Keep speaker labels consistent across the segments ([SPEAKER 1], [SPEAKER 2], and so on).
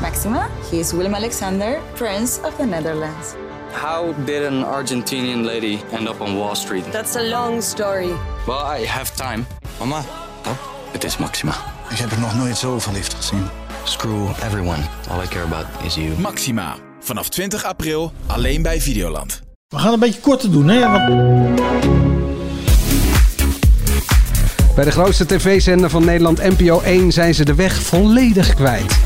[SPEAKER 1] Maxima. He is Willem Alexander, Prince of the Netherlands.
[SPEAKER 2] How did an Argentinian lady end up on Wall Street?
[SPEAKER 3] That's a long story.
[SPEAKER 2] Well, I have time.
[SPEAKER 4] Mama,
[SPEAKER 2] Het is Maxima.
[SPEAKER 5] Ik heb er nog nooit zo verliefd gezien.
[SPEAKER 2] Screw everyone. All I care about is you.
[SPEAKER 6] Maxima. Vanaf 20 april alleen bij Videoland.
[SPEAKER 7] We gaan een beetje korter doen, hè? Want
[SPEAKER 8] Bij de grootste tv-zender van Nederland, NPO 1, zijn ze de weg volledig kwijt.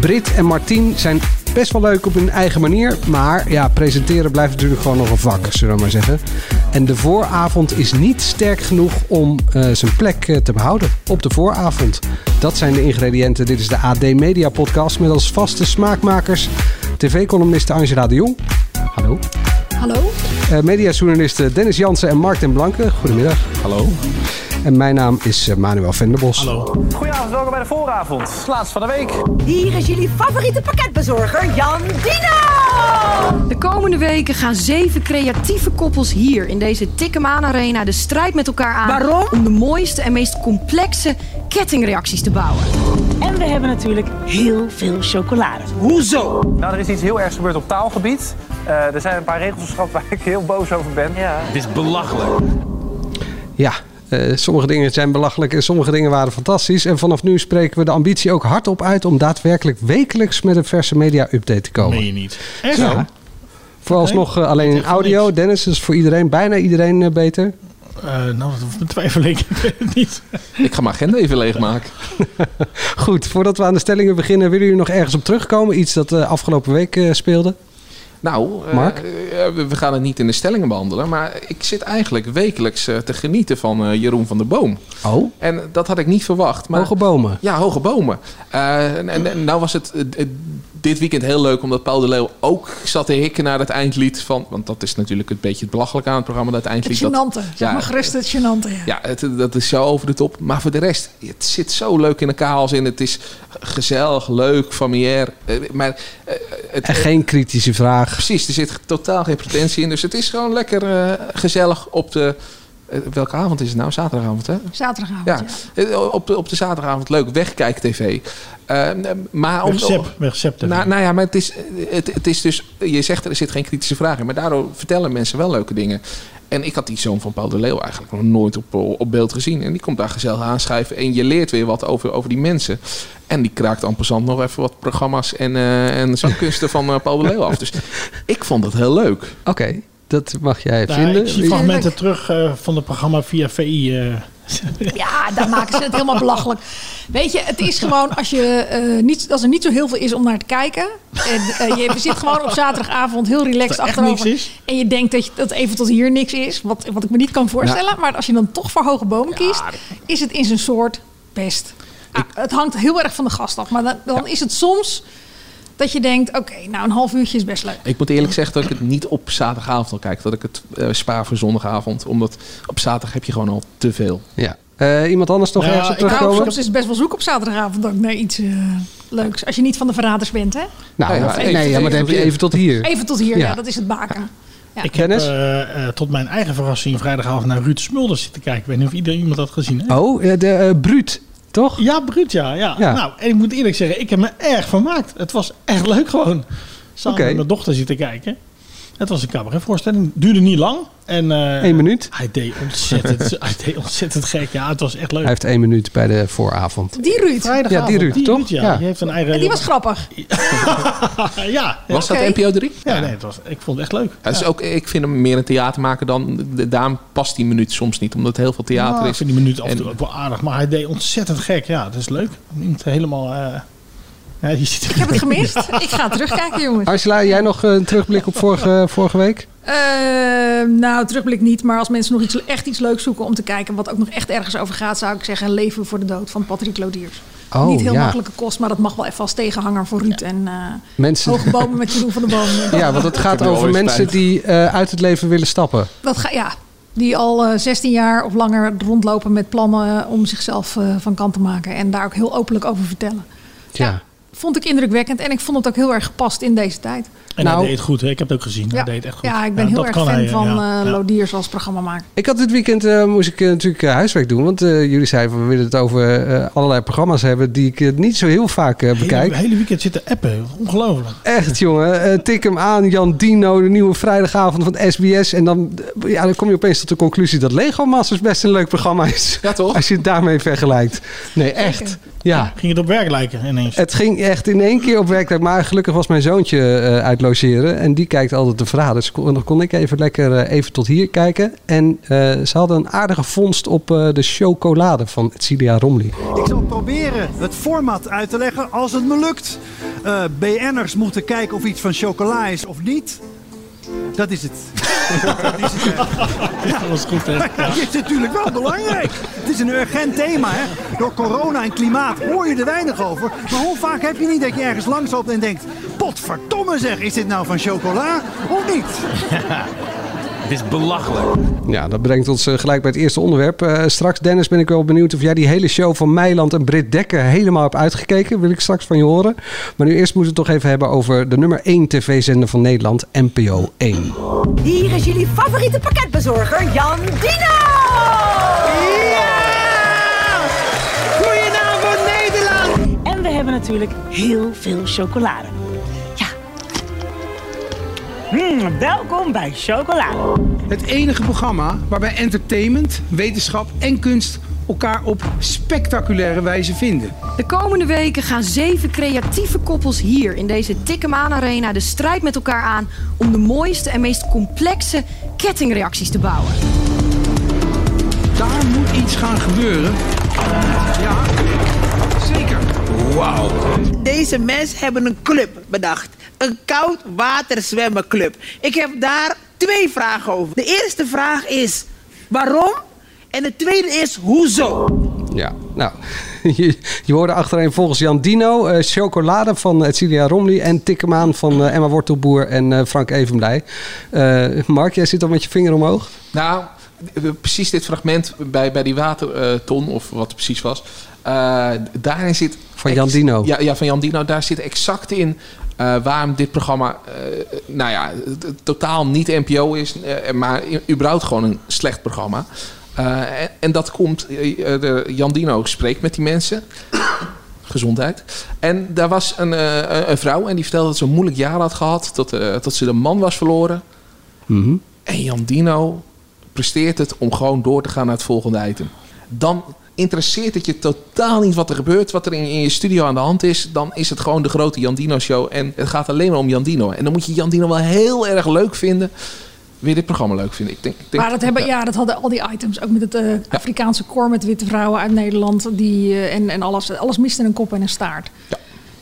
[SPEAKER 8] Brit en Martien zijn best wel leuk op hun eigen manier. Maar ja, presenteren blijft natuurlijk gewoon nog een vak, zullen we maar zeggen. En de vooravond is niet sterk genoeg om eh, zijn plek eh, te behouden op de vooravond. Dat zijn de ingrediënten. Dit is de AD Media Podcast met als vaste smaakmakers tv-columniste Angela de Jong. Hallo.
[SPEAKER 9] Hallo?
[SPEAKER 8] Eh, mediajournalisten Dennis Jansen en Mark den Blanke. Goedemiddag.
[SPEAKER 7] Hallo.
[SPEAKER 8] En mijn naam is eh, Manuel Venderbos.
[SPEAKER 7] Hallo.
[SPEAKER 10] Goedenavond, welkom bij de vooravond. Plaats van de week.
[SPEAKER 3] Hier is jullie favoriete pakketbezorger, Jan Dino!
[SPEAKER 9] De komende weken gaan zeven creatieve koppels hier in deze Tikkemaan Arena de strijd met elkaar aan.
[SPEAKER 3] Waarom?
[SPEAKER 9] Om de mooiste en meest complexe kettingreacties te bouwen.
[SPEAKER 11] En we hebben natuurlijk heel veel chocolade.
[SPEAKER 7] Hoezo?
[SPEAKER 10] Nou, er is iets heel ergs gebeurd op taalgebied. Eh, er zijn een paar regels geschrapt waar ik heel boos over ben.
[SPEAKER 12] Het is belachelijk.
[SPEAKER 8] Ja, eh, sommige dingen zijn belachelijk en sommige dingen waren fantastisch. En vanaf nu spreken we de ambitie ook hardop uit om daadwerkelijk wekelijks met een verse media-update te komen.
[SPEAKER 7] Meen je niet. Echt?
[SPEAKER 8] Ja.
[SPEAKER 7] Ja.
[SPEAKER 8] Vooralsnog eh, alleen in
[SPEAKER 7] echt van
[SPEAKER 8] audio.
[SPEAKER 7] niks.
[SPEAKER 8] Dennis is voor iedereen, bijna iedereen eh, beter.
[SPEAKER 7] nou, dat betwijfel ik. Ik weet het niet.
[SPEAKER 12] Ik ga mijn agenda even leegmaken.
[SPEAKER 8] Goed, voordat we aan de stellingen beginnen, willen jullie nog ergens op terugkomen? Iets dat eh, afgelopen week eh, speelde?
[SPEAKER 12] Nou, eh,
[SPEAKER 8] Mark?
[SPEAKER 12] eh, we gaan het niet in de stellingen behandelen. Maar ik zit eigenlijk wekelijks eh, te genieten van eh, Jeroen van der Boom.
[SPEAKER 8] Oh,
[SPEAKER 12] En dat had ik niet verwacht. Maar,
[SPEAKER 8] hoge bomen.
[SPEAKER 12] Ja, hoge bomen. Eh, en, en- en nou was het eh, eh, dit weekend heel leuk omdat Paul de Leeuw ook zat te hikken naar het eindlied van. Want dat is natuurlijk een beetje het belachelijke aan het programma, dat
[SPEAKER 11] Het
[SPEAKER 12] eindlied. dat-
[SPEAKER 11] genante. Zeg
[SPEAKER 12] ja.
[SPEAKER 11] maar gerust het genante. Ja.
[SPEAKER 12] Ja, het, dat is zo over de top. Maar voor de rest, het zit zo leuk in elkaar als in. Het is gezellig, leuk, familiair. Eh, Maar eh, het,
[SPEAKER 8] En geen kritische vraag.
[SPEAKER 12] precies, er zit totaal geen pretentie in. Dus het is gewoon lekker eh, gezellig op de... eh, welke avond is het nou? Zaterdagavond, hè?
[SPEAKER 11] Zaterdagavond.
[SPEAKER 12] Ja,
[SPEAKER 11] Ja.
[SPEAKER 12] eh, op de, op de zaterdagavond leuk. Wegkijk TV. Eh, maar om,
[SPEAKER 7] Wegzep. Wegzep.
[SPEAKER 12] nou, nou ja, maar het is, het, het is dus... Je zegt er zit geen kritische vraag in. Maar daardoor vertellen mensen wel leuke dingen. En ik had die zoon van Paul de Leeuw eigenlijk nog nooit op, op beeld gezien. En die komt daar gezellig aanschuiven. En je leert weer wat over, over die mensen. En die kraakt en passant nog even wat programma's en, eh en zangkunsten van eh, Paul de Leeuw af. Dus ik vond dat heel leuk.
[SPEAKER 8] Oké, dat mag jij
[SPEAKER 7] Ja,
[SPEAKER 8] vinden.
[SPEAKER 7] Nou, ik zie fragmenten terug eh, van het programma via VI. eh.
[SPEAKER 11] Ja, daar maken ze het helemaal belachelijk. Weet je, het is gewoon als, je, eh, niet, als er niet zo heel veel is om naar te kijken. En eh, je zit gewoon op zaterdagavond heel relaxed
[SPEAKER 7] Dat er echt
[SPEAKER 11] achterover.
[SPEAKER 7] niks is?
[SPEAKER 11] En je denkt dat, je, dat even tot hier niks is. Wat, wat ik me niet kan voorstellen. Maar als je dan toch voor hoge bomen kiest, is het in zijn soort best. Ah, het hangt heel erg van de gast af. Maar dan, dan is het soms dat je denkt, oké, nou een half uurtje is best leuk.
[SPEAKER 12] Ik moet eerlijk zeggen dat ik het niet op zaterdagavond al kijk. Dat ik het eh, spaar voor zondagavond. Omdat op zaterdag heb je gewoon al te veel.
[SPEAKER 8] Ja. Eh, iemand anders nog
[SPEAKER 7] Nou,
[SPEAKER 8] ergens op
[SPEAKER 7] ik-
[SPEAKER 11] Nou,
[SPEAKER 8] terugkomen?
[SPEAKER 11] soms is het best wel zoek op zaterdagavond ook naar iets eh, leuks. Als je niet van de verraders bent, hè?
[SPEAKER 8] Nou,
[SPEAKER 12] Ja, ja,
[SPEAKER 8] ja,
[SPEAKER 12] even-
[SPEAKER 8] nee, ja, maar dan heb je even tot hier.
[SPEAKER 11] Even tot hier,
[SPEAKER 8] Ja.
[SPEAKER 11] ja, dat is het baken. Ja.
[SPEAKER 7] Ik heb
[SPEAKER 8] Dennis?
[SPEAKER 7] eh, eh, tot mijn eigen verrassing vrijdagavond naar Ruud Smulders zitten kijken. Ik weet niet of iedereen iemand dat gezien heeft.
[SPEAKER 8] Oh, eh, de eh, bruut, toch?
[SPEAKER 7] Ja, bruut, ja, ja.
[SPEAKER 8] Ja.
[SPEAKER 7] Nou, en ik moet eerlijk zeggen, ik heb me erg vermaakt. Het was echt leuk gewoon. Samen
[SPEAKER 8] Oké.
[SPEAKER 7] met mijn dochter zitten kijken. Het was een cabaretvoorstelling. Duurde niet lang. En, eh,
[SPEAKER 8] Eén minuut.
[SPEAKER 7] Hij deed, ontzettend, hij deed ontzettend gek. Ja, het was echt leuk.
[SPEAKER 8] Hij heeft één minuut bij de vooravond.
[SPEAKER 11] Die Ruud,
[SPEAKER 7] Vrijdagavond,
[SPEAKER 8] Ja, die Ruud, toch?
[SPEAKER 7] ja.
[SPEAKER 8] Ja.
[SPEAKER 7] Die heeft een eigen...
[SPEAKER 11] en die was grappig.
[SPEAKER 7] ja, ja, ja.
[SPEAKER 12] Was dat
[SPEAKER 11] Oké.
[SPEAKER 12] NPO 3?
[SPEAKER 7] nee, het was, ik vond het echt leuk.
[SPEAKER 12] Ja, dus ook, ik vind hem meer een theatermaker dan... de- Daarom past die minuut soms niet, omdat heel veel theater
[SPEAKER 11] Oh,
[SPEAKER 7] Nou, ik
[SPEAKER 12] is.
[SPEAKER 7] vind die minuut af en
[SPEAKER 12] En-
[SPEAKER 7] toe ook wel aardig. Maar hij deed ontzettend gek. Ja, dat is leuk. Iemand helemaal... eh ja, je ziet
[SPEAKER 11] Ik heb het gemist. Ik ga terugkijken, jongens.
[SPEAKER 8] Angela, jij nog eh, een terugblik op vorige, vorige week?
[SPEAKER 11] Eh, nou, terugblik niet. Maar als mensen nog iets, echt iets leuks zoeken om te kijken... wat ook nog echt ergens over gaat... zou ik zeggen Leven voor de Dood van Patrick Lodiers.
[SPEAKER 8] Oh,
[SPEAKER 11] niet heel
[SPEAKER 8] ja.
[SPEAKER 11] makkelijke kost, maar dat mag wel even als tegenhanger voor Ruud. En eh
[SPEAKER 8] Mensen,
[SPEAKER 11] Hoge Bomen met Jeroen van de Boom.
[SPEAKER 8] ja, want het gaat
[SPEAKER 12] heb nu
[SPEAKER 8] over
[SPEAKER 12] alweer
[SPEAKER 8] mensen
[SPEAKER 12] spijt.
[SPEAKER 8] die eh, uit het leven willen stappen.
[SPEAKER 11] Dat ga, ja, die al eh, 16 jaar of langer eh, rondlopen met plannen om zichzelf eh, van kant te maken. En daar ook heel openlijk over vertellen.
[SPEAKER 8] Ja.
[SPEAKER 11] Ja. vond ik indrukwekkend. En ik vond het ook heel erg gepast in deze tijd.
[SPEAKER 7] En hij deed het goed. hè? Ik heb het ook gezien. Hij deed het echt goed.
[SPEAKER 11] Nou. Ja, ik ben heel
[SPEAKER 7] dat
[SPEAKER 11] erg
[SPEAKER 7] kan
[SPEAKER 11] fan
[SPEAKER 7] hij,
[SPEAKER 11] van
[SPEAKER 7] ja.
[SPEAKER 11] eh,
[SPEAKER 7] Ja.
[SPEAKER 11] Lodiers als programmamaker.
[SPEAKER 8] Ik had dit weekend eh, moest ik eh, natuurlijk eh, huiswerk doen. Want eh, jullie zeiden van we willen het over eh, allerlei programma's hebben die ik eh, niet zo heel vaak eh, bekijk.
[SPEAKER 7] Hele, hele weekend zitten appen. Ongelooflijk.
[SPEAKER 8] Echt jongen, Eh, tik hem aan, Jan Dino, de nieuwe vrijdagavond van SBS. En dan, eh, ja, dan kom je opeens tot de conclusie dat Lego Masters best een leuk programma is.
[SPEAKER 12] Ja, toch?
[SPEAKER 8] Als je het daarmee vergelijkt. Nee, echt. Ja.
[SPEAKER 7] Ging het op werk lijken ineens.
[SPEAKER 8] Het ging echt in één keer op werktijd. Maar gelukkig was mijn zoontje eh, uit logeren. En die kijkt altijd de verhalen. Dus kon, dan kon ik even lekker eh, even tot hier kijken. En eh, ze hadden een aardige vondst op eh, de chocolade van Cilia Romli.
[SPEAKER 4] Ik zal proberen het format uit te leggen als het me lukt. Eh, BN'ers moeten kijken of iets van chocola is of niet. Dat is het. Dat is het. eh. Ja.
[SPEAKER 7] Dat was goed, hè?
[SPEAKER 4] Maar dat is natuurlijk wel belangrijk. Het is een urgent thema, hè. Door corona en klimaat hoor je er weinig over. Maar hoe vaak heb je niet dat je ergens langs loopt en denkt... Potverdomme zeg, is dit nou van chocola of niet?
[SPEAKER 13] Het is belachelijk.
[SPEAKER 8] Ja, dat brengt ons eh, gelijk bij het eerste onderwerp. Eh, straks, Dennis, ben ik wel benieuwd of jij die hele show van Meiland en Britt Dekker helemaal hebt uitgekeken. Wil ik straks van je horen. Maar nu eerst moeten we het toch even hebben over de nummer 1 tv-zender van Nederland, NPO 1.
[SPEAKER 3] Hier is jullie favoriete pakketbezorger, Jan Dino!
[SPEAKER 14] Goedenavond Nederland! En we hebben natuurlijk heel veel chocolade. Ja. Mm, welkom bij Chocolade.
[SPEAKER 15] Het enige programma waarbij entertainment, wetenschap en kunst elkaar op spectaculaire wijze vinden.
[SPEAKER 9] De komende weken gaan zeven creatieve koppels hier in deze Tikkemaan Arena de strijd met elkaar aan om de mooiste en meest complexe kettingreacties te bouwen.
[SPEAKER 15] Daar moet iets gaan gebeuren. Ja, zeker. Wauw.
[SPEAKER 16] Deze mensen hebben een club bedacht. Een koud waterzwemmenclub. Ik heb daar twee vragen over. De eerste vraag is waarom? En de tweede is hoezo?
[SPEAKER 8] Ja, nou, je, je hoorde achtereen volgens Jan Dino, eh, Chocolade van eh, Cilia Romli en Tikkemaan van eh, Emma Wortelboer en eh, Frank Evenblij. Eh, Mark, jij zit al met je vinger omhoog.
[SPEAKER 12] Nou, eh, precies dit fragment bij, bij die waterton, of wat het precies was. eh, daarin zit...
[SPEAKER 8] Van Jan Dino.
[SPEAKER 12] Ja, ja, van Jan Dino. Daar zit exact in eh, waarom dit programma... eh, nou ja, t- totaal niet NPO is, eh, maar i- überhaupt gewoon een slecht programma. Eh, en, en dat komt... eh, eh, de- Jan Dino spreekt met die mensen... gezondheid. En daar was een, eh, een- een vrouw en die vertelde dat ze een moeilijk jaar had gehad. Dat, eh, dat ze de man was verloren. En Jan Dino presteert het om gewoon door te gaan naar het volgende item. Dan interesseert het je totaal niet wat er gebeurt, wat er in, in je studio aan de hand is. Dan is het gewoon de grote Jan Dino show en het gaat alleen maar om Jan Dino. En dan moet je Jan Dino wel heel erg leuk vinden. Weer dit programma leuk vinden. Ik denk, ik denk,
[SPEAKER 11] Maar dat, hebben, ja, dat hadden al die items. Ook met het eh, Afrikaanse koor met witte vrouwen uit Nederland. Die, eh, en en alles, alles miste een kop en een staart.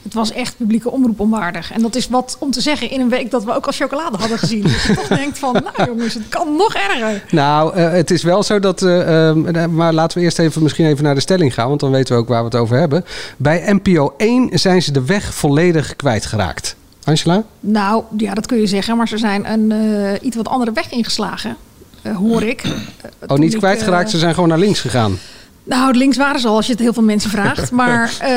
[SPEAKER 11] Het was echt publieke omroep onwaardig. En dat is wat om te zeggen in een week dat we ook al chocolade hadden gezien. Dus je toch denkt van, nou jongens, het kan nog erger.
[SPEAKER 8] Nou, eh, het is wel zo dat. eh, ehm, eh, maar laten we eerst even, misschien even naar de stelling gaan, want dan weten we ook waar we het over hebben. Bij NPO 1 zijn ze de weg volledig kwijtgeraakt. Angela?
[SPEAKER 11] Nou, ja, dat kun je zeggen. Maar ze zijn een eh, iets wat andere weg ingeslagen. eh, hoor ik. Eh,
[SPEAKER 8] Oh,
[SPEAKER 11] toen ik,
[SPEAKER 8] niet
[SPEAKER 11] eh,
[SPEAKER 8] kwijtgeraakt, ze zijn gewoon naar links gegaan.
[SPEAKER 11] Nou, links waren ze al, als je het heel veel mensen vraagt. Maar ehm, ze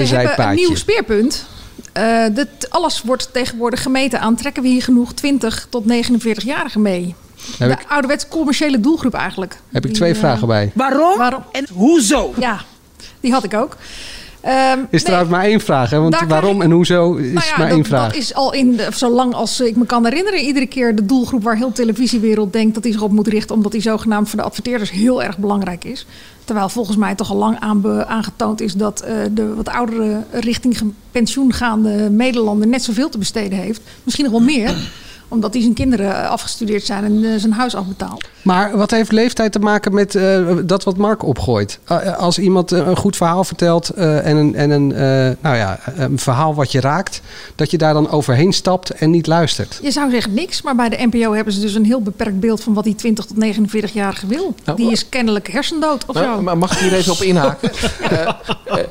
[SPEAKER 8] Een
[SPEAKER 11] hebben een
[SPEAKER 8] zijpaadje.
[SPEAKER 11] nieuw speerpunt. Eh, dat, alles wordt tegenwoordig gemeten aan... trekken we hier genoeg 20 tot 49-jarigen mee?
[SPEAKER 8] Heb
[SPEAKER 11] de
[SPEAKER 8] ik-
[SPEAKER 11] ouderwets commerciële doelgroep eigenlijk.
[SPEAKER 8] Heb ik twee
[SPEAKER 11] eh,
[SPEAKER 8] vragen bij.
[SPEAKER 11] Waarom, en hoezo? Ja, die had ik ook. Ehm,
[SPEAKER 8] Is trouwens maar één vraag, hè? Want
[SPEAKER 11] Daar krijg
[SPEAKER 8] waarom en hoezo is
[SPEAKER 11] nou ja,
[SPEAKER 8] maar
[SPEAKER 11] dat,
[SPEAKER 8] één vraag.
[SPEAKER 11] dat is al in, de, zolang als ik me kan herinneren, iedere keer de doelgroep waar heel televisiewereld denkt dat hij zich op moet richten, omdat die zogenaamd voor de adverteerders heel erg belangrijk is. Terwijl volgens mij toch al lang aanbe- aangetoond is dat eh, de wat oudere richting ge- pensioen gaande Nederlander net zoveel te besteden heeft. Misschien nog wel meer, omdat hij zijn kinderen afgestudeerd zijn en eh, zijn huis afbetaalt.
[SPEAKER 8] Maar wat heeft leeftijd te maken met eh, dat wat Mark opgooit? Eh, als iemand eh, een goed verhaal vertelt eh, en, een, en een, eh, nou ja, een verhaal wat je raakt, dat je daar dan overheen stapt en niet luistert.
[SPEAKER 11] Je zou zeggen niks, maar bij de NPO hebben ze dus een heel beperkt beeld van wat die 20 tot 49-jarige wil. Die is kennelijk hersendood of
[SPEAKER 12] Nou,
[SPEAKER 11] zo.
[SPEAKER 12] maar mag ik hier even op inhaken?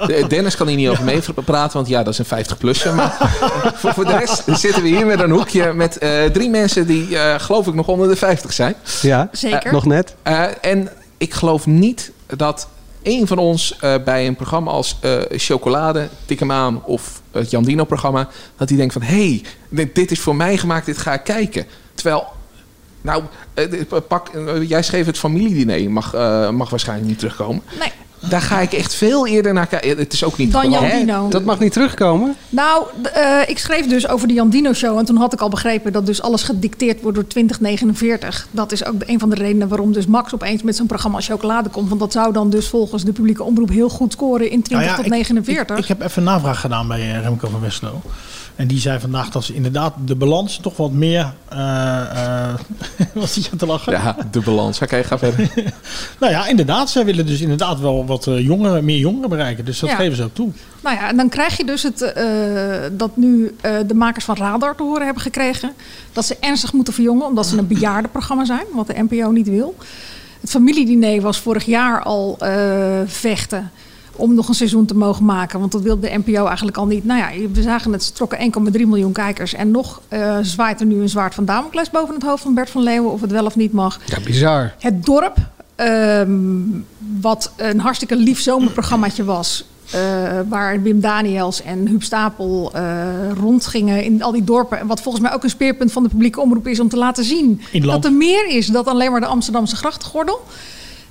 [SPEAKER 12] Eh, eh, Dennis kan hier niet over mee praten, want ja, dat is een 50-plusser. Maar voor, voor de rest zitten we hier met een hoekje met eh, drie mensen die, eh, geloof ik, nog onder de 50 zijn.
[SPEAKER 8] Ja,
[SPEAKER 12] Zeker.
[SPEAKER 8] nog net.
[SPEAKER 12] Eh, en ik geloof niet dat één van ons eh, bij een programma als eh, Chocolade, Tik hem aan of het Jandino-programma, dat die denkt van hé, hey, dit, dit is voor mij gemaakt, dit ga ik kijken. Terwijl, nou, eh, d- pak, eh, jij schreef het familiediner, mag, eh, mag waarschijnlijk niet terugkomen.
[SPEAKER 8] Nee.
[SPEAKER 12] Daar ga ik echt veel eerder naar kijken. Het is ook niet
[SPEAKER 8] Dan
[SPEAKER 12] belang-
[SPEAKER 8] Jandino. Hè? Dat
[SPEAKER 11] mag niet terugkomen.
[SPEAKER 8] Nou, d- eh, ik schreef dus over de Jan Dino Show. En toen had ik al begrepen dat dus alles gedicteerd wordt door 2049. Dat is ook de- een van de redenen waarom dus Max opeens met zijn programma Chocolade komt. Want dat zou dan dus volgens de publieke omroep heel goed scoren in 20
[SPEAKER 7] Nou ja,
[SPEAKER 8] tot
[SPEAKER 7] ik-
[SPEAKER 8] 49.
[SPEAKER 7] Ik, ik heb even navraag gedaan bij eh, Remco van Westerlo. En die zei vandaag dat ze inderdaad de balans toch wat meer... eh, eh, was hij aan te lachen?
[SPEAKER 12] Ja, de balans. Oké, ga verder.
[SPEAKER 7] Nou ja, inderdaad. Zij willen dus inderdaad wel wat eh, jongeren, meer jongeren bereiken. Dus dat
[SPEAKER 8] Ja.
[SPEAKER 7] geven ze ook toe.
[SPEAKER 8] Nou ja, en dan krijg je dus het, eh, dat nu eh, de makers van Radar te horen hebben gekregen. Dat ze ernstig moeten verjongen, omdat ze een bejaardenprogramma zijn, wat de NPO niet wil. Het familiediner was vorig jaar al eh, vechten om nog een seizoen te mogen maken. Want dat wilde de NPO eigenlijk al niet. Nou ja, we zagen het, ze trokken 1,3 miljoen kijkers. En nog eh, zwaait er nu een zwaard van Damocles boven het hoofd van Bert van Leeuwen... of het wel of niet mag.
[SPEAKER 11] Ja, bizar.
[SPEAKER 8] Het dorp, ehm, wat een hartstikke lief zomerprogrammaatje was. eh, waar Wim Daniels en Huub Stapel eh, rondgingen in al die dorpen. En wat volgens mij ook een speerpunt van de publieke omroep is om te laten zien.
[SPEAKER 7] In het land.
[SPEAKER 8] Dat er meer is dan alleen maar de Amsterdamse grachtengordel.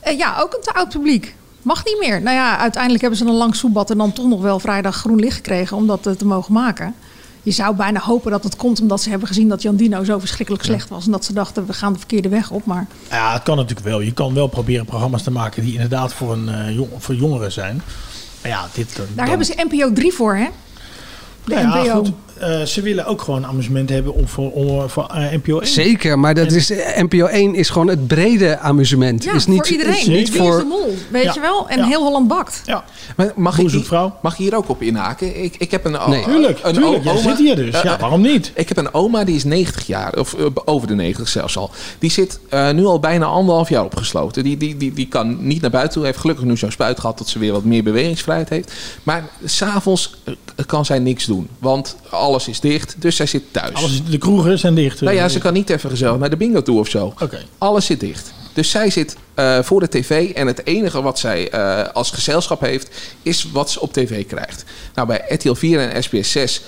[SPEAKER 8] Eh, ja, ook een te oud publiek. Mag niet meer. Nou ja, uiteindelijk hebben ze een lang soebat en dan toch nog wel vrijdag groen licht gekregen om dat eh, te mogen maken. Je zou bijna hopen dat het komt omdat ze hebben gezien dat Jan Dino zo verschrikkelijk slecht was. En dat ze dachten, we gaan de verkeerde weg op. Maar
[SPEAKER 7] Ja, het kan natuurlijk wel. Je kan wel proberen programma's te maken die inderdaad voor, een, eh, jong, voor jongeren zijn. Maar ja, dit... eh,
[SPEAKER 8] Daar
[SPEAKER 7] dan-
[SPEAKER 8] hebben ze NPO 3 voor, hè? De
[SPEAKER 7] Nou ja,
[SPEAKER 8] NPO.
[SPEAKER 7] goed. Eh, ze willen ook gewoon amusement hebben om voor, om, voor eh, NPO 1.
[SPEAKER 11] Zeker, maar dat is, NPO 1 is gewoon het brede amusement.
[SPEAKER 8] Ja,
[SPEAKER 11] is niet,
[SPEAKER 8] voor iedereen.
[SPEAKER 11] is
[SPEAKER 8] Wie
[SPEAKER 11] Niet
[SPEAKER 8] is de
[SPEAKER 11] voor...
[SPEAKER 8] mol, weet
[SPEAKER 12] Ja,
[SPEAKER 8] je wel? En
[SPEAKER 12] ja.
[SPEAKER 8] heel Holland bakt.
[SPEAKER 7] Ja.
[SPEAKER 12] Maar mag, ik, hier- mag ik hier ook op inhaken? Ik, ik heb een, o-
[SPEAKER 7] Nee. Tuurlijk,
[SPEAKER 12] Eh, een eh,
[SPEAKER 7] tuurlijk.
[SPEAKER 12] o-
[SPEAKER 7] Jij zit hier dus. Ja, waarom niet?
[SPEAKER 12] Ik heb een oma die is 90 jaar, of eh, over de 90 zelfs al. Die zit eh, nu al bijna anderhalf jaar opgesloten. Die, die, die, die kan niet naar buiten toe. Heeft gelukkig nu zo'n spuit gehad dat ze weer wat meer bewegingsvrijheid heeft. Maar s'avonds eh, kan zij niks doen. Want alles is dicht, dus zij zit thuis.
[SPEAKER 7] Alles is- de kroegen zijn dicht. eh,
[SPEAKER 12] Nou ja, ze kan niet even gezellig naar de bingo toe of zo. Alles zit dicht. Dus zij zit eh, voor de tv en het enige wat zij eh, als gezelschap heeft, is wat ze op tv krijgt. Nou, bij RTL 4 en SBS 6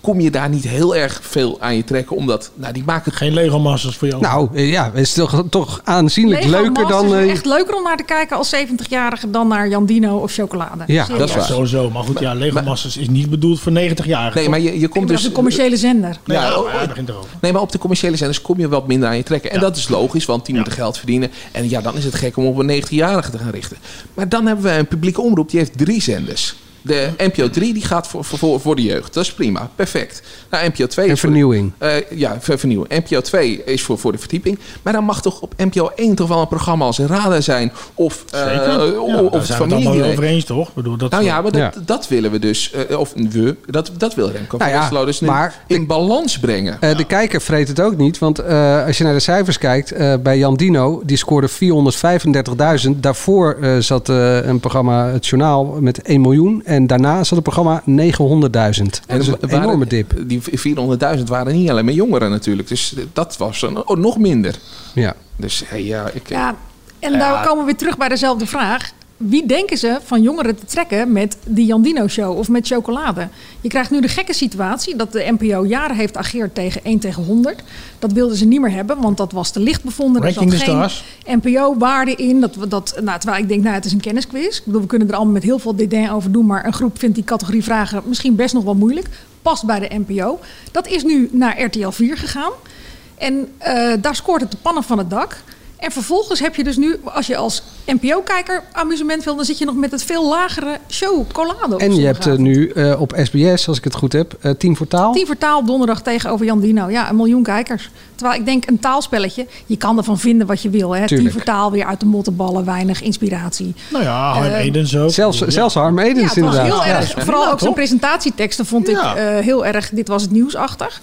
[SPEAKER 12] kom je daar niet heel erg veel aan je trekken, omdat nou, die maken
[SPEAKER 7] geen Lego-masters voor jou.
[SPEAKER 11] Nou, eh, ja, het is toch, toch aanzienlijk
[SPEAKER 8] Lego
[SPEAKER 11] leuker
[SPEAKER 8] Masters
[SPEAKER 11] dan...
[SPEAKER 8] is
[SPEAKER 11] eh,
[SPEAKER 8] echt leuker om naar te kijken als 70-jarige dan naar Jandino of chocolade. Serieus.
[SPEAKER 7] Sowieso, maar goed, ja, Lego Masters is niet bedoeld voor 90-jarigen.
[SPEAKER 12] Nee, maar je, je
[SPEAKER 8] Ik
[SPEAKER 12] komt
[SPEAKER 8] bedoel,
[SPEAKER 12] dus...
[SPEAKER 8] een commerciële zender.
[SPEAKER 12] Ja,
[SPEAKER 7] Ja,
[SPEAKER 12] oh,
[SPEAKER 7] maar hij begint erover.
[SPEAKER 12] Nee, maar op de commerciële zenders kom je wat minder aan je trekken. En dat is logisch, want die moeten geld verdienen. En ja, dan is het gek om op een 90-jarige te gaan richten. Maar dan hebben we een publieke omroep die heeft drie zenders. De NPO 3 die gaat voor, voor, voor de jeugd. Dat is prima, perfect. Nou, NPO 2
[SPEAKER 11] En
[SPEAKER 12] is voor-
[SPEAKER 11] vernieuwing.
[SPEAKER 12] eh, ja, ver- vernieuwen. NPO 2 is voor, voor de verdieping. Maar dan mag toch op NPO 1 toch wel een programma als Radar zijn. Of, eh,
[SPEAKER 7] Zeker.
[SPEAKER 12] o-
[SPEAKER 7] Ja,
[SPEAKER 12] of
[SPEAKER 7] daar
[SPEAKER 12] het
[SPEAKER 7] zijn we het allemaal wel
[SPEAKER 12] familie.
[SPEAKER 7] over eens, toch? Ik Bedoel, dat
[SPEAKER 12] Nou ja, maar dat, dat willen we dus. eh, of we, dat, dat wil Remco van
[SPEAKER 11] Nou ja,
[SPEAKER 12] Westerlo dus nu
[SPEAKER 11] maar-
[SPEAKER 12] in balans brengen.
[SPEAKER 11] Eh, De kijker vreet het ook niet, want eh, als je naar de cijfers kijkt, eh, bij Jan Dino, die scoorde 435.000. Daarvoor eh, zat eh, een programma, het journaal, met 1 miljoen. En daarna zat het programma 900.000. Dat is een
[SPEAKER 12] er Dus waren-
[SPEAKER 11] enorme dip.
[SPEAKER 12] Die 400.000 waren niet alleen maar jongeren natuurlijk. Dus dat was een, oh, nog minder.
[SPEAKER 11] Ja.
[SPEAKER 12] Dus hey, ja, ik,
[SPEAKER 8] Ja, en
[SPEAKER 12] Ja.
[SPEAKER 8] daar komen we weer terug bij dezelfde vraag. Wie denken ze van jongeren te trekken met die Jandino-show of met chocolade? Je krijgt nu de gekke situatie dat de NPO jaren heeft ageerd tegen 1 tegen 100. Dat wilden ze niet meer hebben, want dat was te licht bevonden. Er zat
[SPEAKER 7] Ranking the
[SPEAKER 8] geen
[SPEAKER 7] Stars.
[SPEAKER 8] NPO-waarde in. Dat, we- dat, nou, terwijl ik denk, nou, het is een kennisquiz. Ik bedoel, we kunnen er allemaal met heel veel dédain over doen. Maar een groep vindt die categorie vragen misschien best nog wel moeilijk. Past bij de NPO. Dat is nu naar RTL 4 gegaan. En eh, daar scoort het de pannen van het dak. En vervolgens heb je dus nu, als je als NPO-kijker amusement wil, dan zit je nog met het veel lagere show Colado. op
[SPEAKER 11] En je hebt eh,
[SPEAKER 8] zondagavond.
[SPEAKER 11] nu eh, op SBS, als ik het goed heb, eh 10 voor taal.
[SPEAKER 8] Tien voor taal op donderdag tegenover Jan Dino. Ja, een miljoen kijkers. Terwijl ik denk, een taalspelletje, je kan ervan vinden wat je wil. Hè? Tien
[SPEAKER 11] Tuurlijk.
[SPEAKER 8] voor taal, weer uit de mottenballen, weinig inspiratie.
[SPEAKER 7] Nou ja, Harm
[SPEAKER 8] Eh,
[SPEAKER 7] Edens ook.
[SPEAKER 11] Zelfs, zelfs Harm
[SPEAKER 8] Ja,
[SPEAKER 11] Edens
[SPEAKER 8] het was
[SPEAKER 11] inderdaad.
[SPEAKER 8] heel
[SPEAKER 11] Ja.
[SPEAKER 8] erg, vooral ook zijn presentatieteksten vond ik
[SPEAKER 11] Ja.
[SPEAKER 8] eh, heel erg, dit was het nieuwsachtig.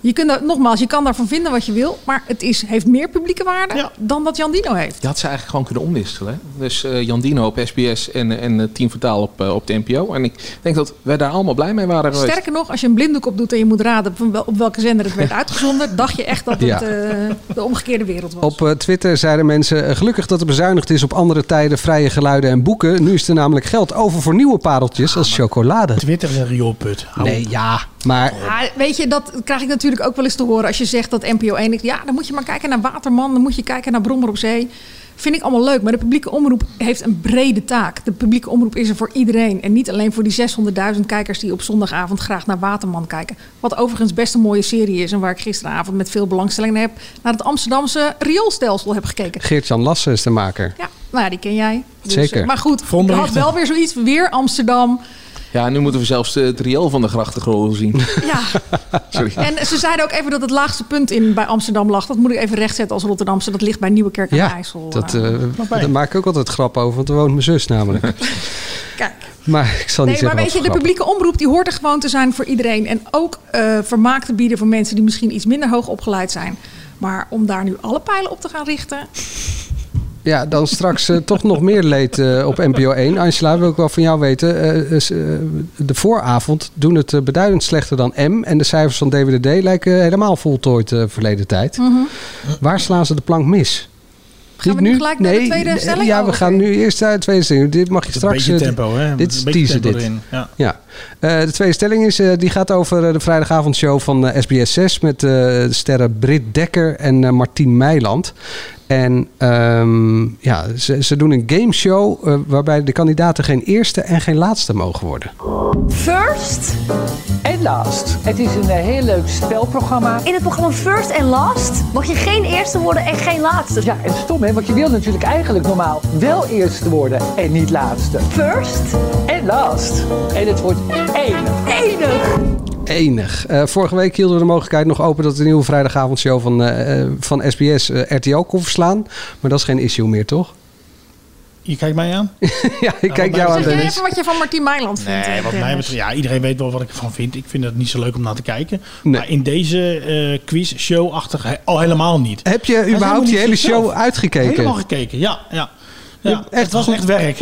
[SPEAKER 11] Je kunt daar, nogmaals, je kan daarvan vinden wat je wil. Maar het is, heeft meer publieke waarde dan dat Jan Dino heeft.
[SPEAKER 12] Je had ze eigenlijk gewoon kunnen omwisselen. hè? Dus eh Jandino op SBS en, en eh, Team Vertaal op, eh, op de NPO. En ik denk dat wij daar allemaal blij mee waren geweest.
[SPEAKER 11] Sterker nog, als je een blinddoek op doet en je moet raden van wel- op welke zender het werd uitgezonden, dacht je echt dat het
[SPEAKER 8] Ja.
[SPEAKER 11] eh, de omgekeerde wereld was.
[SPEAKER 8] Op eh, Twitter zeiden mensen: eh, gelukkig dat er bezuinigd is op andere tijden, vrije geluiden en boeken. Nu is er namelijk geld over voor nieuwe pareltjes als chocolade.
[SPEAKER 7] Twitter is een rioolput.
[SPEAKER 8] Nee, ja, maar
[SPEAKER 11] Ja, weet je, dat krijg ik natuurlijk ook wel eens te horen als je zegt dat NPO 1... ik- Ja, dan moet je maar kijken naar Waterman, dan moet je kijken naar Brommer op Zee. Vind ik allemaal leuk, maar de publieke omroep heeft een brede taak. De publieke omroep is er voor iedereen. En niet alleen voor die 600.000 kijkers die op zondagavond graag naar Waterman kijken. Wat overigens best een mooie serie is en waar ik gisteravond met veel belangstelling naar heb... naar het Amsterdamse rioolstelsel heb gekeken.
[SPEAKER 8] Geert-Jan Lassen is de maker.
[SPEAKER 11] Ja, nou ja, die ken jij. Dus,
[SPEAKER 8] Zeker.
[SPEAKER 11] eh, Maar goed, je had
[SPEAKER 12] Veronderichter.
[SPEAKER 11] wel weer zoiets, weer Amsterdam...
[SPEAKER 12] Ja, nu moeten we zelfs eh, het riool van de grachtengordel zien.
[SPEAKER 11] Ja.
[SPEAKER 12] Sorry.
[SPEAKER 11] En ze zeiden ook even dat het laagste punt in, bij Amsterdam lag. Dat moet ik even rechtzetten als Rotterdamse. Dat ligt bij Nieuwekerk aan
[SPEAKER 8] Ja,
[SPEAKER 11] IJssel.
[SPEAKER 8] dat,
[SPEAKER 11] Eh,
[SPEAKER 8] eh, daar maak ik ook altijd grap over, want er woont mijn zus namelijk.
[SPEAKER 11] Kijk.
[SPEAKER 8] Maar ik zal niet
[SPEAKER 11] Nee, maar
[SPEAKER 8] zeggen
[SPEAKER 11] weet
[SPEAKER 8] wat
[SPEAKER 11] je,
[SPEAKER 8] voor
[SPEAKER 11] de
[SPEAKER 8] grap.
[SPEAKER 11] publieke omroep die hoort er gewoon te zijn voor iedereen. En ook eh, vermaak te bieden voor mensen die misschien iets minder hoog opgeleid zijn. Maar om daar nu alle pijlen op te gaan richten.
[SPEAKER 8] Ja, dan straks eh, toch nog meer leed eh, op NPO 1. Angela, wil ik wel van jou weten. eh, is, eh, de vooravond doen het eh, beduidend slechter dan M. En de cijfers van DWDD lijken helemaal voltooid eh verleden tijd.
[SPEAKER 11] Mhm.
[SPEAKER 8] Waar slaan ze de plank mis? Gaan
[SPEAKER 11] we nu gelijk naar de tweede stelling?
[SPEAKER 8] eh, Ja,
[SPEAKER 11] Oh,
[SPEAKER 8] we
[SPEAKER 11] oké.
[SPEAKER 8] gaan nu eerst naar de tweede stelling. Dit mag je
[SPEAKER 7] Een
[SPEAKER 8] straks...
[SPEAKER 7] beetje
[SPEAKER 8] eh, dit-
[SPEAKER 7] tempo, hè?
[SPEAKER 8] Dit
[SPEAKER 7] Een
[SPEAKER 8] is
[SPEAKER 7] beetje
[SPEAKER 8] teaser,
[SPEAKER 7] tempo
[SPEAKER 8] dit.
[SPEAKER 7] erin, ja.
[SPEAKER 8] Ja. Eh, de tweede stelling is, eh, die gaat over eh, de vrijdagavondshow van eh, SBS 6 met eh, de sterren Britt Dekker en eh, Martien Meiland. En ehm, ja, ze, ze doen een gameshow eh, waarbij de kandidaten geen eerste en geen laatste mogen worden.
[SPEAKER 17] First and Last. Het is een eh, heel leuk spelprogramma.
[SPEAKER 11] Oh,
[SPEAKER 17] In het programma First and Last mag je geen eerste worden en geen laatste. Ja, en stom hè, want je wilt natuurlijk eigenlijk normaal wel eerste worden en niet laatste. First and Last. En het wordt enig. Enig.
[SPEAKER 8] Enig. Eh, vorige week hielden we de mogelijkheid nog open dat de nieuwe vrijdagavondshow van, eh, eh, van SBS eh, RTL kon verslaan. Maar dat is geen issue meer, toch?
[SPEAKER 7] Je kijkt mij aan?
[SPEAKER 8] ja, ik kijk jou aan,
[SPEAKER 11] Zeg jij
[SPEAKER 8] Dennis.
[SPEAKER 11] even wat je van Martien Meiland vindt.
[SPEAKER 7] Nee,
[SPEAKER 11] eh,
[SPEAKER 7] wat mij
[SPEAKER 11] Dennis?
[SPEAKER 7] betreft, ja, iedereen weet wel wat ik ervan vind. Ik vind het niet zo leuk om naar te kijken. Maar in deze eh quiz, show-achtig, he- al helemaal niet.
[SPEAKER 8] Heb je
[SPEAKER 7] Hij is helemaal
[SPEAKER 8] überhaupt
[SPEAKER 7] niet
[SPEAKER 8] je hele
[SPEAKER 7] zichzelf.
[SPEAKER 8] show uitgekeken?
[SPEAKER 7] Helemaal gekeken, ja. ja. ja het was echt werk.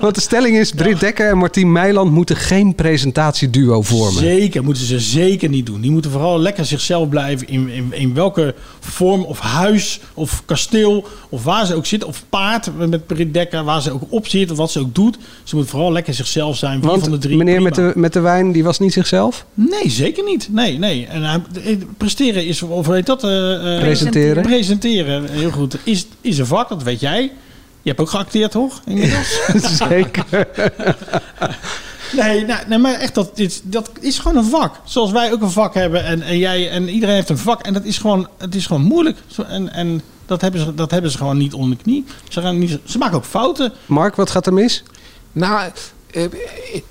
[SPEAKER 8] Want de stelling is: Britt Dekker en Martien Meiland moeten geen presentatieduo vormen.
[SPEAKER 7] Zeker, moeten ze zeker niet doen. Die moeten vooral lekker zichzelf blijven in, in, in welke vorm of huis of kasteel of waar ze ook zitten. Of paard met Britt Dekker, waar ze ook op zit of wat ze ook doet. Ze moet vooral lekker zichzelf zijn. Wie van de
[SPEAKER 8] Want
[SPEAKER 7] drie,
[SPEAKER 8] meneer met
[SPEAKER 7] prima.
[SPEAKER 8] de, met de wijn, die was niet zichzelf?
[SPEAKER 7] Nee, zeker niet. Nee, nee. En hij- eh, presteren is, of weet dat? eh, eh,
[SPEAKER 8] Presenteren.
[SPEAKER 7] Presenteren, heel goed. Is, is een vak, dat weet jij. Je hebt ook geacteerd, toch? Inmiddels?
[SPEAKER 8] zeker.
[SPEAKER 7] nee, nou, nee, maar echt, dat is, dat is gewoon een vak. Zoals wij ook een vak hebben en, en jij en iedereen heeft een vak. En dat is gewoon, het is gewoon moeilijk. Zo, En, en dat, hebben ze, dat hebben ze gewoon niet onder de knie. Ze, gaan niet, ze maken ook fouten.
[SPEAKER 8] Mark, wat gaat er mis?
[SPEAKER 12] Nou, eh,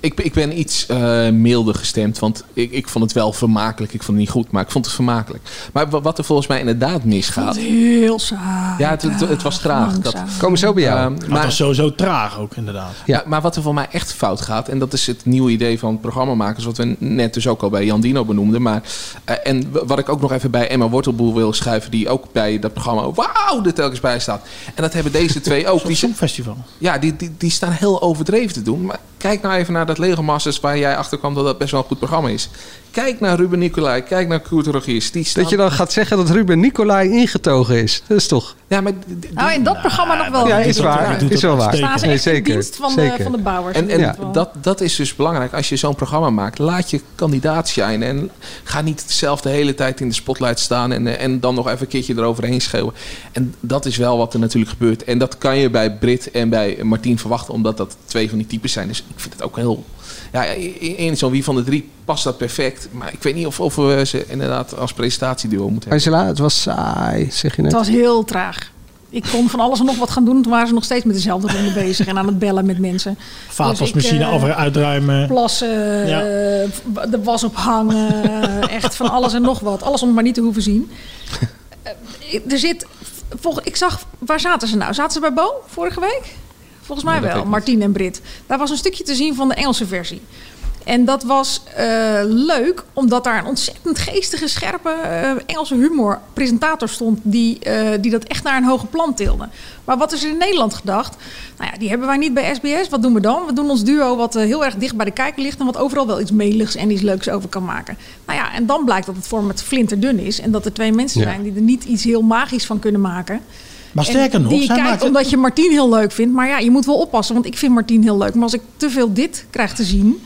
[SPEAKER 12] ik, ik ben iets eh, milder gestemd. Want ik, ik vond het wel vermakelijk. Ik vond het niet goed, maar ik vond het vermakelijk. Maar wa- wat er volgens mij inderdaad misgaat.
[SPEAKER 11] Heel saai.
[SPEAKER 12] Ja, het, het, het was traag. Dat,
[SPEAKER 8] Komen zo bij jou.
[SPEAKER 12] Ehm,
[SPEAKER 7] Maar het was sowieso traag ook, inderdaad.
[SPEAKER 12] Ja, maar wat er voor mij echt fout gaat, en dat is het nieuwe idee van programmamakers, wat we net dus ook al bij Jan Dino benoemden. Maar, eh, en w- wat ik ook nog even bij Emma Wortelboer wil schuiven, die ook bij dat programma Wauw er telkens bij staat. En dat hebben deze twee ook. Die, zijn-
[SPEAKER 7] Festival.
[SPEAKER 12] ja, die, die, die staan heel overdreven te doen. Maar kijk nou even naar dat Lego Masters waar jij achter kwam dat dat best wel een goed programma is. Kijk naar Ruben Nicolai, kijk naar Koert Rogiers. Die staan...
[SPEAKER 8] Dat je dan gaat zeggen dat Ruben Nicolai ingetogen is. Dat is toch?
[SPEAKER 12] Ja, maar
[SPEAKER 11] Nou, in dat programma nog wel.
[SPEAKER 8] Ja, is waar. Is wel waar.
[SPEAKER 11] Staan ze
[SPEAKER 8] Nee,
[SPEAKER 11] echt in
[SPEAKER 8] zeker.
[SPEAKER 11] dienst van de,
[SPEAKER 8] Zeker.
[SPEAKER 11] van de bouwers.
[SPEAKER 12] En,
[SPEAKER 11] in
[SPEAKER 12] en
[SPEAKER 11] ieder geval.
[SPEAKER 12] dat, dat is dus belangrijk. Als je zo'n programma maakt, laat je kandidaat zijn. En ga niet zelf de hele tijd in de spotlight staan. En, eh, en dan nog even een keertje eroverheen schreeuwen. En dat is wel wat er natuurlijk gebeurt. En dat kan je bij Brit en bij Martien verwachten. Omdat dat twee van die types zijn. Dus ik vind het ook heel... Ja, in in zo'n wie van de drie past dat perfect. Maar ik weet niet of, of we ze inderdaad als presentatieduo moeten hebben.
[SPEAKER 8] Angela, het was saai, zeg je net.
[SPEAKER 11] Het was heel traag. Ik kon van alles en nog wat gaan doen. Toen waren ze nog steeds met dezelfde ronde bezig en aan het bellen met mensen.
[SPEAKER 7] Vaatwasmachine
[SPEAKER 11] Dus ik, eh,
[SPEAKER 7] af- uitruimen.
[SPEAKER 11] Plassen,
[SPEAKER 7] Ja.
[SPEAKER 11] eh, v- de was ophangen, echt van alles en nog wat. Alles om maar niet te hoeven zien. Eh, ik- er zit, volg, ik zag, waar zaten ze nou? Zaten ze bij Bo vorige week? Volgens mij
[SPEAKER 9] Nee, dat weet ik
[SPEAKER 11] wel,
[SPEAKER 9] niet.
[SPEAKER 11] Martien en Brit. Daar was een stukje te zien van de Engelse versie. En dat was eh, leuk, omdat daar een ontzettend geestige, scherpe eh, Engelse humor presentator stond. Die, eh, die dat echt naar een hoger plan tilde. Maar wat is er in Nederland gedacht? Nou ja, die hebben wij niet bij SBS. Wat doen we dan? We doen ons duo wat eh, heel erg dicht bij de kijker ligt. En wat overal wel iets medeligs en iets leuks over kan maken. Nou ja, en dan blijkt dat het format flinterdun is. En dat er twee mensen
[SPEAKER 7] Ja.
[SPEAKER 11] zijn die er niet iets heel magisch van kunnen maken.
[SPEAKER 7] Maar
[SPEAKER 11] En
[SPEAKER 7] sterker nog,
[SPEAKER 11] die je
[SPEAKER 7] zij
[SPEAKER 11] kijkt
[SPEAKER 7] maakt-
[SPEAKER 11] omdat je Martien heel leuk vindt. Maar ja, je moet wel oppassen, want ik vind Martien heel leuk. Maar als ik te veel dit krijg te zien,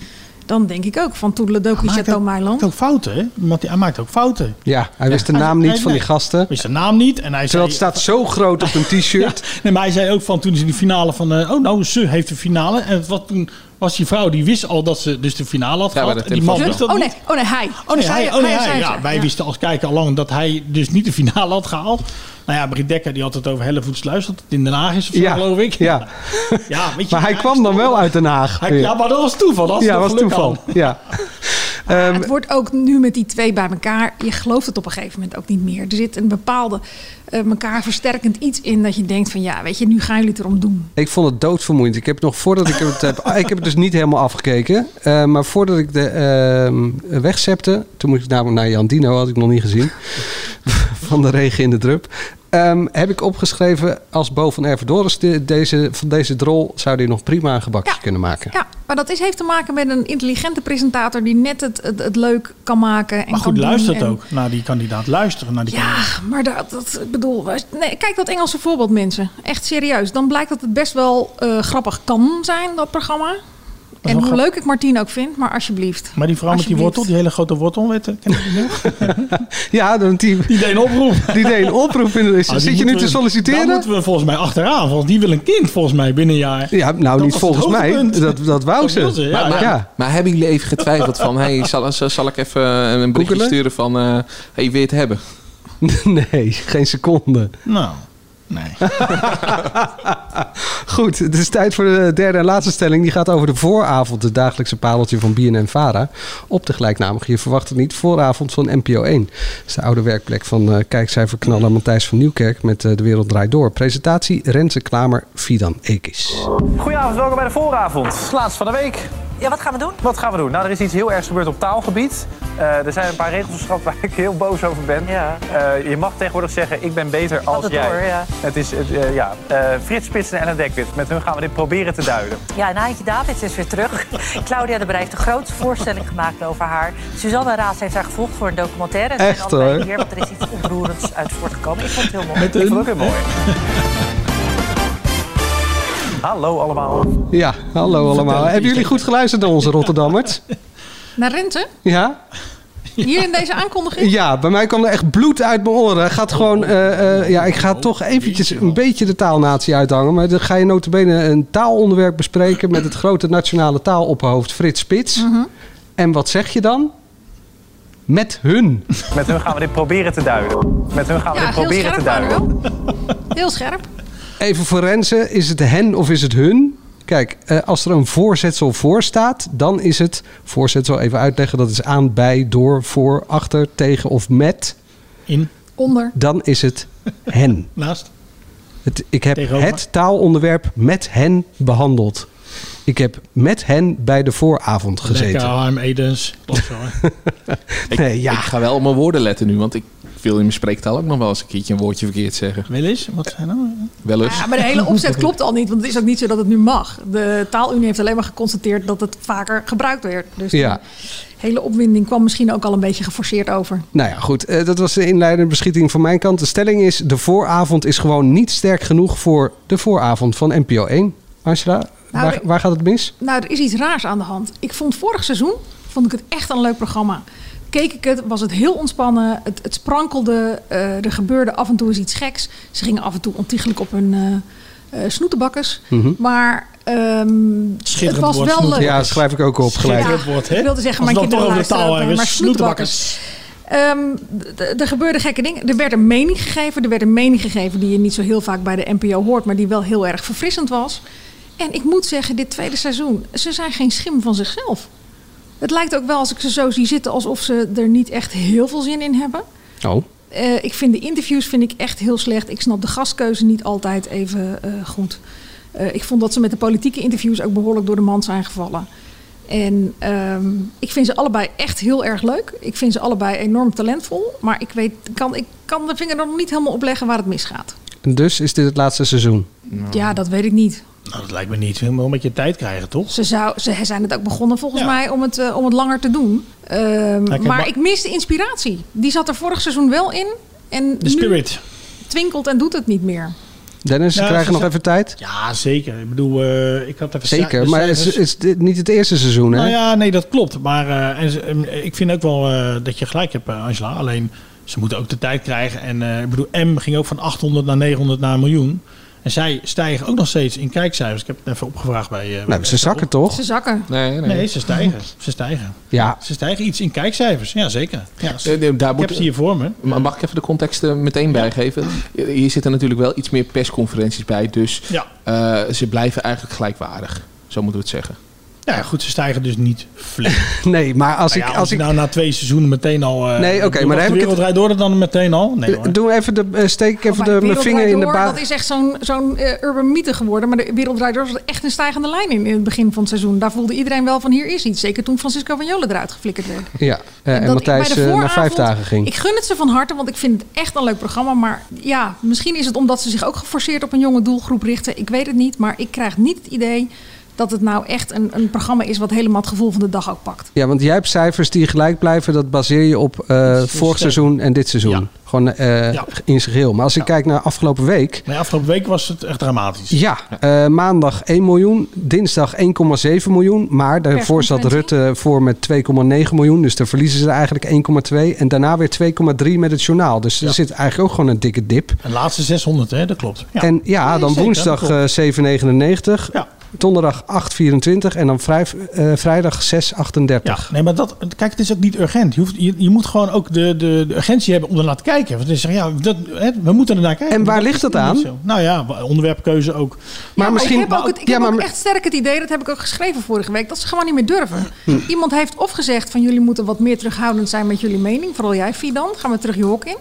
[SPEAKER 11] dan denk ik ook van Toedeledokie
[SPEAKER 7] Maakt
[SPEAKER 11] Chateau
[SPEAKER 7] ook-
[SPEAKER 11] Meiland.
[SPEAKER 7] maakt ook fouten, hè? Want hij maakt ook fouten.
[SPEAKER 8] Ja, hij wist de naam
[SPEAKER 11] Ah,
[SPEAKER 8] niet van die gasten. Hij
[SPEAKER 7] wist de naam niet. En hij
[SPEAKER 8] Terwijl
[SPEAKER 7] zei,
[SPEAKER 8] het staat zo groot op een t-shirt.
[SPEAKER 7] Ja, nee, maar hij zei ook van toen ze in de finale van... eh, oh, nou, ze heeft de finale. En wat toen was die vrouw, die wist al dat ze dus de finale had gehad.
[SPEAKER 12] maar de
[SPEAKER 7] En die man
[SPEAKER 11] Huh?
[SPEAKER 7] wist dat
[SPEAKER 11] oh,
[SPEAKER 7] niet.
[SPEAKER 11] nee, oh nee, hij.
[SPEAKER 7] Oh nee,
[SPEAKER 11] Dus
[SPEAKER 7] hij, oh, nee,
[SPEAKER 11] zei
[SPEAKER 7] hij.
[SPEAKER 11] het,
[SPEAKER 7] Ja, wij wisten als kijker al lang dat hij dus niet de finale had gehaald. Nou ja, Britt Dekker die had het over Hellevoetsluis, dat het in Den Haag is of zo,
[SPEAKER 8] Ja,
[SPEAKER 7] geloof ik.
[SPEAKER 8] ja.
[SPEAKER 7] ja weet je,
[SPEAKER 8] Maar hij kwam dan wel uit Den Haag.
[SPEAKER 7] Hij- ja, maar dat was toeval, dat was
[SPEAKER 8] ja,
[SPEAKER 7] nog
[SPEAKER 8] was
[SPEAKER 7] geluk
[SPEAKER 8] toeval. Ja. Ehm,
[SPEAKER 11] Het wordt ook nu met die twee bij elkaar. Je gelooft het op een gegeven moment ook niet meer. Er zit een bepaalde eh, elkaar versterkend iets in dat je denkt van ja, weet je, nu gaan jullie het erom doen.
[SPEAKER 8] Ik vond het doodvermoeiend. Ik heb nog voordat ik het heb. Ik heb het dus niet helemaal afgekeken. eh, maar voordat ik de ehm wegzepte. Toen moest ik namelijk naar Jan Dino, had ik nog niet gezien. van de regen in de drup. ehm, heb ik opgeschreven. Als Bo van Ervedoris de, deze, van deze drol. zou hij nog prima een gebakje kunnen maken.
[SPEAKER 11] Ja, maar dat is, heeft te maken met een intelligente presentator die net het, het, het leuk kan maken. En
[SPEAKER 7] Maar
[SPEAKER 11] kan
[SPEAKER 7] goed,
[SPEAKER 11] doen
[SPEAKER 7] luistert
[SPEAKER 11] en-
[SPEAKER 7] ook naar die kandidaat. Luisteren naar die kandidaat.
[SPEAKER 11] Ja, maar dat, dat ik bedoel. wij- Nee, kijk dat Engelse voorbeeld, mensen. Echt serieus. Dan blijkt dat het best wel eh, grappig kan zijn, dat programma.
[SPEAKER 7] wel
[SPEAKER 11] En hoe
[SPEAKER 7] grappig.
[SPEAKER 11] leuk ik Martien ook vind, maar alsjeblieft.
[SPEAKER 7] Maar die vrouw met die
[SPEAKER 11] Alsjeblieft.
[SPEAKER 7] wortel, die hele grote wortel, weet je, ken je die nog?
[SPEAKER 8] Ja, dan die,
[SPEAKER 7] die deed een oproep.
[SPEAKER 8] Die deed een oproep. In de,
[SPEAKER 7] Ah, die
[SPEAKER 8] zit je
[SPEAKER 7] moeten
[SPEAKER 8] nu te
[SPEAKER 7] we-
[SPEAKER 8] solliciteren?
[SPEAKER 7] Daar moeten we volgens mij achteraan. Volgens, die wil een kind volgens mij binnen een jaar.
[SPEAKER 8] Ja, nou niet
[SPEAKER 7] was het
[SPEAKER 8] volgens mij.
[SPEAKER 7] hoogtepunt.
[SPEAKER 8] Dat, dat wou
[SPEAKER 7] Dat
[SPEAKER 8] ze.
[SPEAKER 7] wil ze, ja,
[SPEAKER 8] Maar- maar- ja.
[SPEAKER 12] Maar hebben jullie even getwijfeld van... Hey, zal, zal- zal ik even eh, een berichtje
[SPEAKER 8] Googelen?
[SPEAKER 12] sturen van... eh hey, wil je het hebben?
[SPEAKER 8] Nee, geen seconde.
[SPEAKER 7] Nou,
[SPEAKER 8] Goed, het is tijd voor de derde en laatste stelling. Die gaat over de vooravond, het dagelijkse pareltje van BNN Vara. Op de gelijknamige, je verwacht het niet, vooravond van NPO 1. Dat is de oude werkplek van eh, kijkcijferknaller Matthijs van Nieuwkerk met eh, De Wereld Draait Door. Presentatie Renze Klamer, Fidan Ekis.
[SPEAKER 10] Goedenavond, welkom bij de vooravond. Laatst van de week. Ja, wat gaan we doen? Wat gaan we doen? Nou, er is iets heel ergs gebeurd op taalgebied. Eh, er zijn een paar regels geschrapt waar ik heel boos over ben. Eh, je mag tegenwoordig zeggen, ik ben beter als
[SPEAKER 14] het
[SPEAKER 10] jij.
[SPEAKER 14] door, ja.
[SPEAKER 10] Het is, het, eh, ja, eh, Frits Spitsen en Ellen Dekwit. Met hun gaan we dit proberen te duiden.
[SPEAKER 14] Ja, Naantje Davids is weer terug. Claudia de Brij heeft een grote voorstelling gemaakt over haar. Suzanne Raas heeft haar gevolgd voor een documentaire. En ze zijn
[SPEAKER 10] Echt,
[SPEAKER 14] allebei
[SPEAKER 10] hoor.
[SPEAKER 14] Hier, want er is iets ontroerends uit voortgekomen. Ik vond het heel mooi.
[SPEAKER 10] Ik vond het ook heel mooi. Hallo allemaal.
[SPEAKER 8] Ja, hallo allemaal. Hebben jullie goed geluisterd naar onze Rotterdammers?
[SPEAKER 11] Naar Rente?
[SPEAKER 8] Ja?
[SPEAKER 11] Hier in deze aankondiging?
[SPEAKER 8] Ja, bij mij kwam er echt bloed uit mijn oren. Gaat gewoon, eh, eh, ja, ik ga toch eventjes een beetje de taalnatie uithangen. Maar dan ga je notabene een taalonderwerp bespreken met het grote nationale taalopperhoofd Frits Spits.
[SPEAKER 11] Mhm.
[SPEAKER 8] En wat zeg je dan? Met hun.
[SPEAKER 10] Met hun gaan we dit proberen te duiden. Met hun gaan we
[SPEAKER 11] Ja,
[SPEAKER 10] dit
[SPEAKER 11] heel
[SPEAKER 10] proberen te
[SPEAKER 11] scherp
[SPEAKER 10] duiden.
[SPEAKER 11] waren we wel. Heel scherp.
[SPEAKER 8] Even voor Renze, is het hen of is het hun? Kijk, eh, als er een voorzetsel voor staat, dan is het voorzetsel even uitleggen. Dat is aan, bij, door, voor, achter, tegen of met.
[SPEAKER 7] In.
[SPEAKER 11] Onder.
[SPEAKER 8] Dan is het hen.
[SPEAKER 7] Naast.
[SPEAKER 8] Het, ik heb
[SPEAKER 7] Tegenover.
[SPEAKER 8] het taalonderwerp met hen behandeld. Ik heb met hen bij de vooravond
[SPEAKER 7] Lekker,
[SPEAKER 8] gezeten.
[SPEAKER 7] Harm Edens. Klopt zo, hè.
[SPEAKER 8] Nee, ja.
[SPEAKER 12] Ik ga wel op mijn woorden letten nu, want ik wil in mijn spreektaal ook nog wel eens een keertje een woordje verkeerd zeggen.
[SPEAKER 7] Wel eens? Wat zijn nou?
[SPEAKER 12] Wel eens.
[SPEAKER 11] Ja, maar de hele opzet klopt al niet, want het is ook niet zo dat het nu mag. De taalunie heeft alleen maar geconstateerd dat het vaker gebruikt werd. Dus
[SPEAKER 8] Ja.
[SPEAKER 11] de hele opwinding kwam misschien ook al een beetje geforceerd over.
[SPEAKER 8] Nou ja, goed. eh, dat was de inleidende beschieting van mijn kant. De stelling is: de vooravond is gewoon niet sterk genoeg voor de vooravond van NPO 1. Angela,
[SPEAKER 11] Nou,
[SPEAKER 8] waar,
[SPEAKER 11] ik-
[SPEAKER 8] waar gaat het mis?
[SPEAKER 11] Nou, er is iets raars aan de hand. Ik vond vorig seizoen vond ik het echt een leuk programma. Keek ik het, was het heel ontspannen. Het, het sprankelde, eh, er gebeurde af en toe eens iets geks. Ze gingen af en toe ontiegelijk op hun eh, eh, snoetenbakkers.
[SPEAKER 8] Mhm.
[SPEAKER 11] Maar ehm, het was
[SPEAKER 8] woord,
[SPEAKER 11] wel leuk.
[SPEAKER 8] Ja, dat schrijf ik ook op gelijk.
[SPEAKER 11] Ja, Ik wilde zeggen,
[SPEAKER 7] Als
[SPEAKER 11] mijn
[SPEAKER 7] we dan
[SPEAKER 11] kinderen
[SPEAKER 7] toch over de taal
[SPEAKER 11] luisteren ook,
[SPEAKER 7] hebben,
[SPEAKER 11] maar
[SPEAKER 7] snoetenbakkers.
[SPEAKER 11] Ehm, d- d- er gebeurden gekke dingen. Er werd een mening gegeven. Er werd een mening gegeven die je niet zo heel vaak bij de NPO hoort, maar die wel heel erg verfrissend was. En ik moet zeggen, dit tweede seizoen, ze zijn geen schim van zichzelf. Het lijkt ook wel, als ik ze zo zie zitten, alsof ze er niet echt heel veel zin in hebben.
[SPEAKER 8] Oh.
[SPEAKER 11] Eh, ik vind de interviews vind ik echt heel slecht. Ik snap de gastkeuze niet altijd even eh, goed. Eh, ik vond dat ze met de politieke interviews ook behoorlijk door de mand zijn gevallen. En ehm, ik vind ze allebei echt heel erg leuk. Ik vind ze allebei enorm talentvol. Maar ik, weet, kan, ik kan de vinger er nog niet helemaal op leggen waar het misgaat.
[SPEAKER 8] En dus is dit het laatste seizoen.
[SPEAKER 11] Ja, dat weet ik niet.
[SPEAKER 7] Nou, dat lijkt me niet. Je moet wel een beetje tijd krijgen, toch?
[SPEAKER 11] Ze, zou, ze zijn het ook begonnen volgens mij om het, eh, om het langer te doen. Ehm,
[SPEAKER 7] kijk,
[SPEAKER 11] maar
[SPEAKER 7] maar-
[SPEAKER 11] ik mis de inspiratie. Die zat er vorig seizoen wel in. En
[SPEAKER 7] De spirit.
[SPEAKER 11] nu twinkelt en doet het niet meer.
[SPEAKER 8] Dennis,
[SPEAKER 7] Nou,
[SPEAKER 8] we krijgen
[SPEAKER 7] ze-
[SPEAKER 8] nog even tijd.
[SPEAKER 7] Ja, zeker. Ik bedoel, eh, ik had even...
[SPEAKER 8] Zeker,
[SPEAKER 7] de
[SPEAKER 8] maar
[SPEAKER 7] cijfers.
[SPEAKER 8] is, is dit niet het eerste seizoen, hè?
[SPEAKER 7] Nou ja, nee, dat klopt. Maar eh, en ze- eh, ik vind ook wel eh, dat je gelijk hebt, eh, Angela. Alleen, ze moeten ook de tijd krijgen. En eh, ik bedoel, M ging ook van 800 naar 900 naar een miljoen. En zij stijgen ook nog steeds in kijkcijfers. Ik heb het even opgevraagd bij... eh, bij
[SPEAKER 8] Nou, ze zakken
[SPEAKER 7] Apple.
[SPEAKER 8] toch?
[SPEAKER 11] Ze zakken.
[SPEAKER 12] Nee,
[SPEAKER 7] Nee, ze stijgen. Ze stijgen.
[SPEAKER 8] Ja.
[SPEAKER 7] Ze stijgen iets in kijkcijfers. Ja, zeker.
[SPEAKER 8] Eh,
[SPEAKER 7] Ja,
[SPEAKER 12] Eh, Nee, nee, daar
[SPEAKER 7] ik
[SPEAKER 12] moet-
[SPEAKER 7] heb ze hier voor me.
[SPEAKER 12] Maar mag ik even de context er meteen bijgeven? Hier zitten natuurlijk wel iets meer persconferenties bij. Dus
[SPEAKER 7] Ja.
[SPEAKER 12] eh, ze blijven eigenlijk gelijkwaardig. Zo moeten we het zeggen.
[SPEAKER 7] Nou ja, goed, ze stijgen dus niet flink.
[SPEAKER 8] nee, maar als ik-
[SPEAKER 7] Als,
[SPEAKER 8] als
[SPEAKER 7] je
[SPEAKER 8] ik-
[SPEAKER 7] nou na twee seizoenen meteen al... eh,
[SPEAKER 8] Nee, oké,
[SPEAKER 7] ik bedoel, als
[SPEAKER 8] maar dan
[SPEAKER 7] de
[SPEAKER 8] heb ik
[SPEAKER 7] wereld
[SPEAKER 8] het-
[SPEAKER 7] rijdt door het dan meteen al? Nee hoor.
[SPEAKER 8] Eh, Doe even de, eh, steek
[SPEAKER 11] Oh,
[SPEAKER 8] ik even de, mijn
[SPEAKER 11] Wereld
[SPEAKER 8] vinger
[SPEAKER 11] Draait
[SPEAKER 8] in de
[SPEAKER 11] Door,
[SPEAKER 8] baas.
[SPEAKER 11] Dat is echt zo'n zo'n eh, urban mythe geworden. Maar de Wereld Draait Door was echt een stijgende lijn in, in het begin van het seizoen. Daar voelde iedereen wel van hier is iets. Zeker toen Francisco van Jolen eruit geflikkerd werd.
[SPEAKER 8] Ja, eh, en
[SPEAKER 11] Dat ik bij
[SPEAKER 8] Matthijs
[SPEAKER 11] de
[SPEAKER 8] eh, na
[SPEAKER 11] vooravond-
[SPEAKER 8] vijf dagen ging.
[SPEAKER 11] Ik gun het ze van harte, want ik vind het echt een leuk programma. Maar ja, misschien is het omdat ze zich ook geforceerd op een jonge doelgroep richten. Ik weet het niet, maar ik krijg niet het idee dat het nou echt een, een programma is... wat helemaal het gevoel van de dag ook pakt.
[SPEAKER 8] Ja, want jij hebt cijfers die gelijk blijven. Dat baseer je op eh, vorig seizoen en dit seizoen. Gewoon eh, in zijn geheel. Maar als ik kijk naar afgelopen week.
[SPEAKER 7] Nee, afgelopen week was het echt dramatisch.
[SPEAKER 8] Ja, eh, maandag 1 miljoen, dinsdag 1,7 miljoen. Maar daarvoor zat Rutte voor met 2,9 miljoen. Dus dan verliezen ze er eigenlijk 1,2. En daarna weer 2,3 met het journaal. Dus er zit eigenlijk ook gewoon een dikke dip.
[SPEAKER 7] En laatste 600, hè? Dat klopt. Ja.
[SPEAKER 8] En ja,
[SPEAKER 7] Nee,
[SPEAKER 8] dan
[SPEAKER 7] zeker,
[SPEAKER 8] woensdag
[SPEAKER 7] dat klopt.
[SPEAKER 8] eh, 7,99. Donderdag 8,24. En dan vrij- eh, vrijdag 6,38.
[SPEAKER 7] Ja, nee, maar dat, kijk, het is ook niet urgent. Je, hoeft, je, je moet gewoon ook de, de, de urgentie hebben om ernaar te kijken. Want dan zeg je, ja, dat, hè, we moeten ernaar kijken.
[SPEAKER 8] En waar ligt
[SPEAKER 7] is
[SPEAKER 8] dat
[SPEAKER 7] niet
[SPEAKER 8] aan?
[SPEAKER 7] zo. Nou ja, wa- onderwerpkeuze ook.
[SPEAKER 8] Maar
[SPEAKER 11] ik heb ook, het, ik heb ook echt sterk het idee, dat heb ik ook geschreven vorige week, dat ze gewoon niet meer durven.
[SPEAKER 7] Hm.
[SPEAKER 11] Iemand heeft of gezegd van jullie moeten wat meer terughoudend zijn met jullie mening, vooral jij Fidan, gaan we terug je hok in.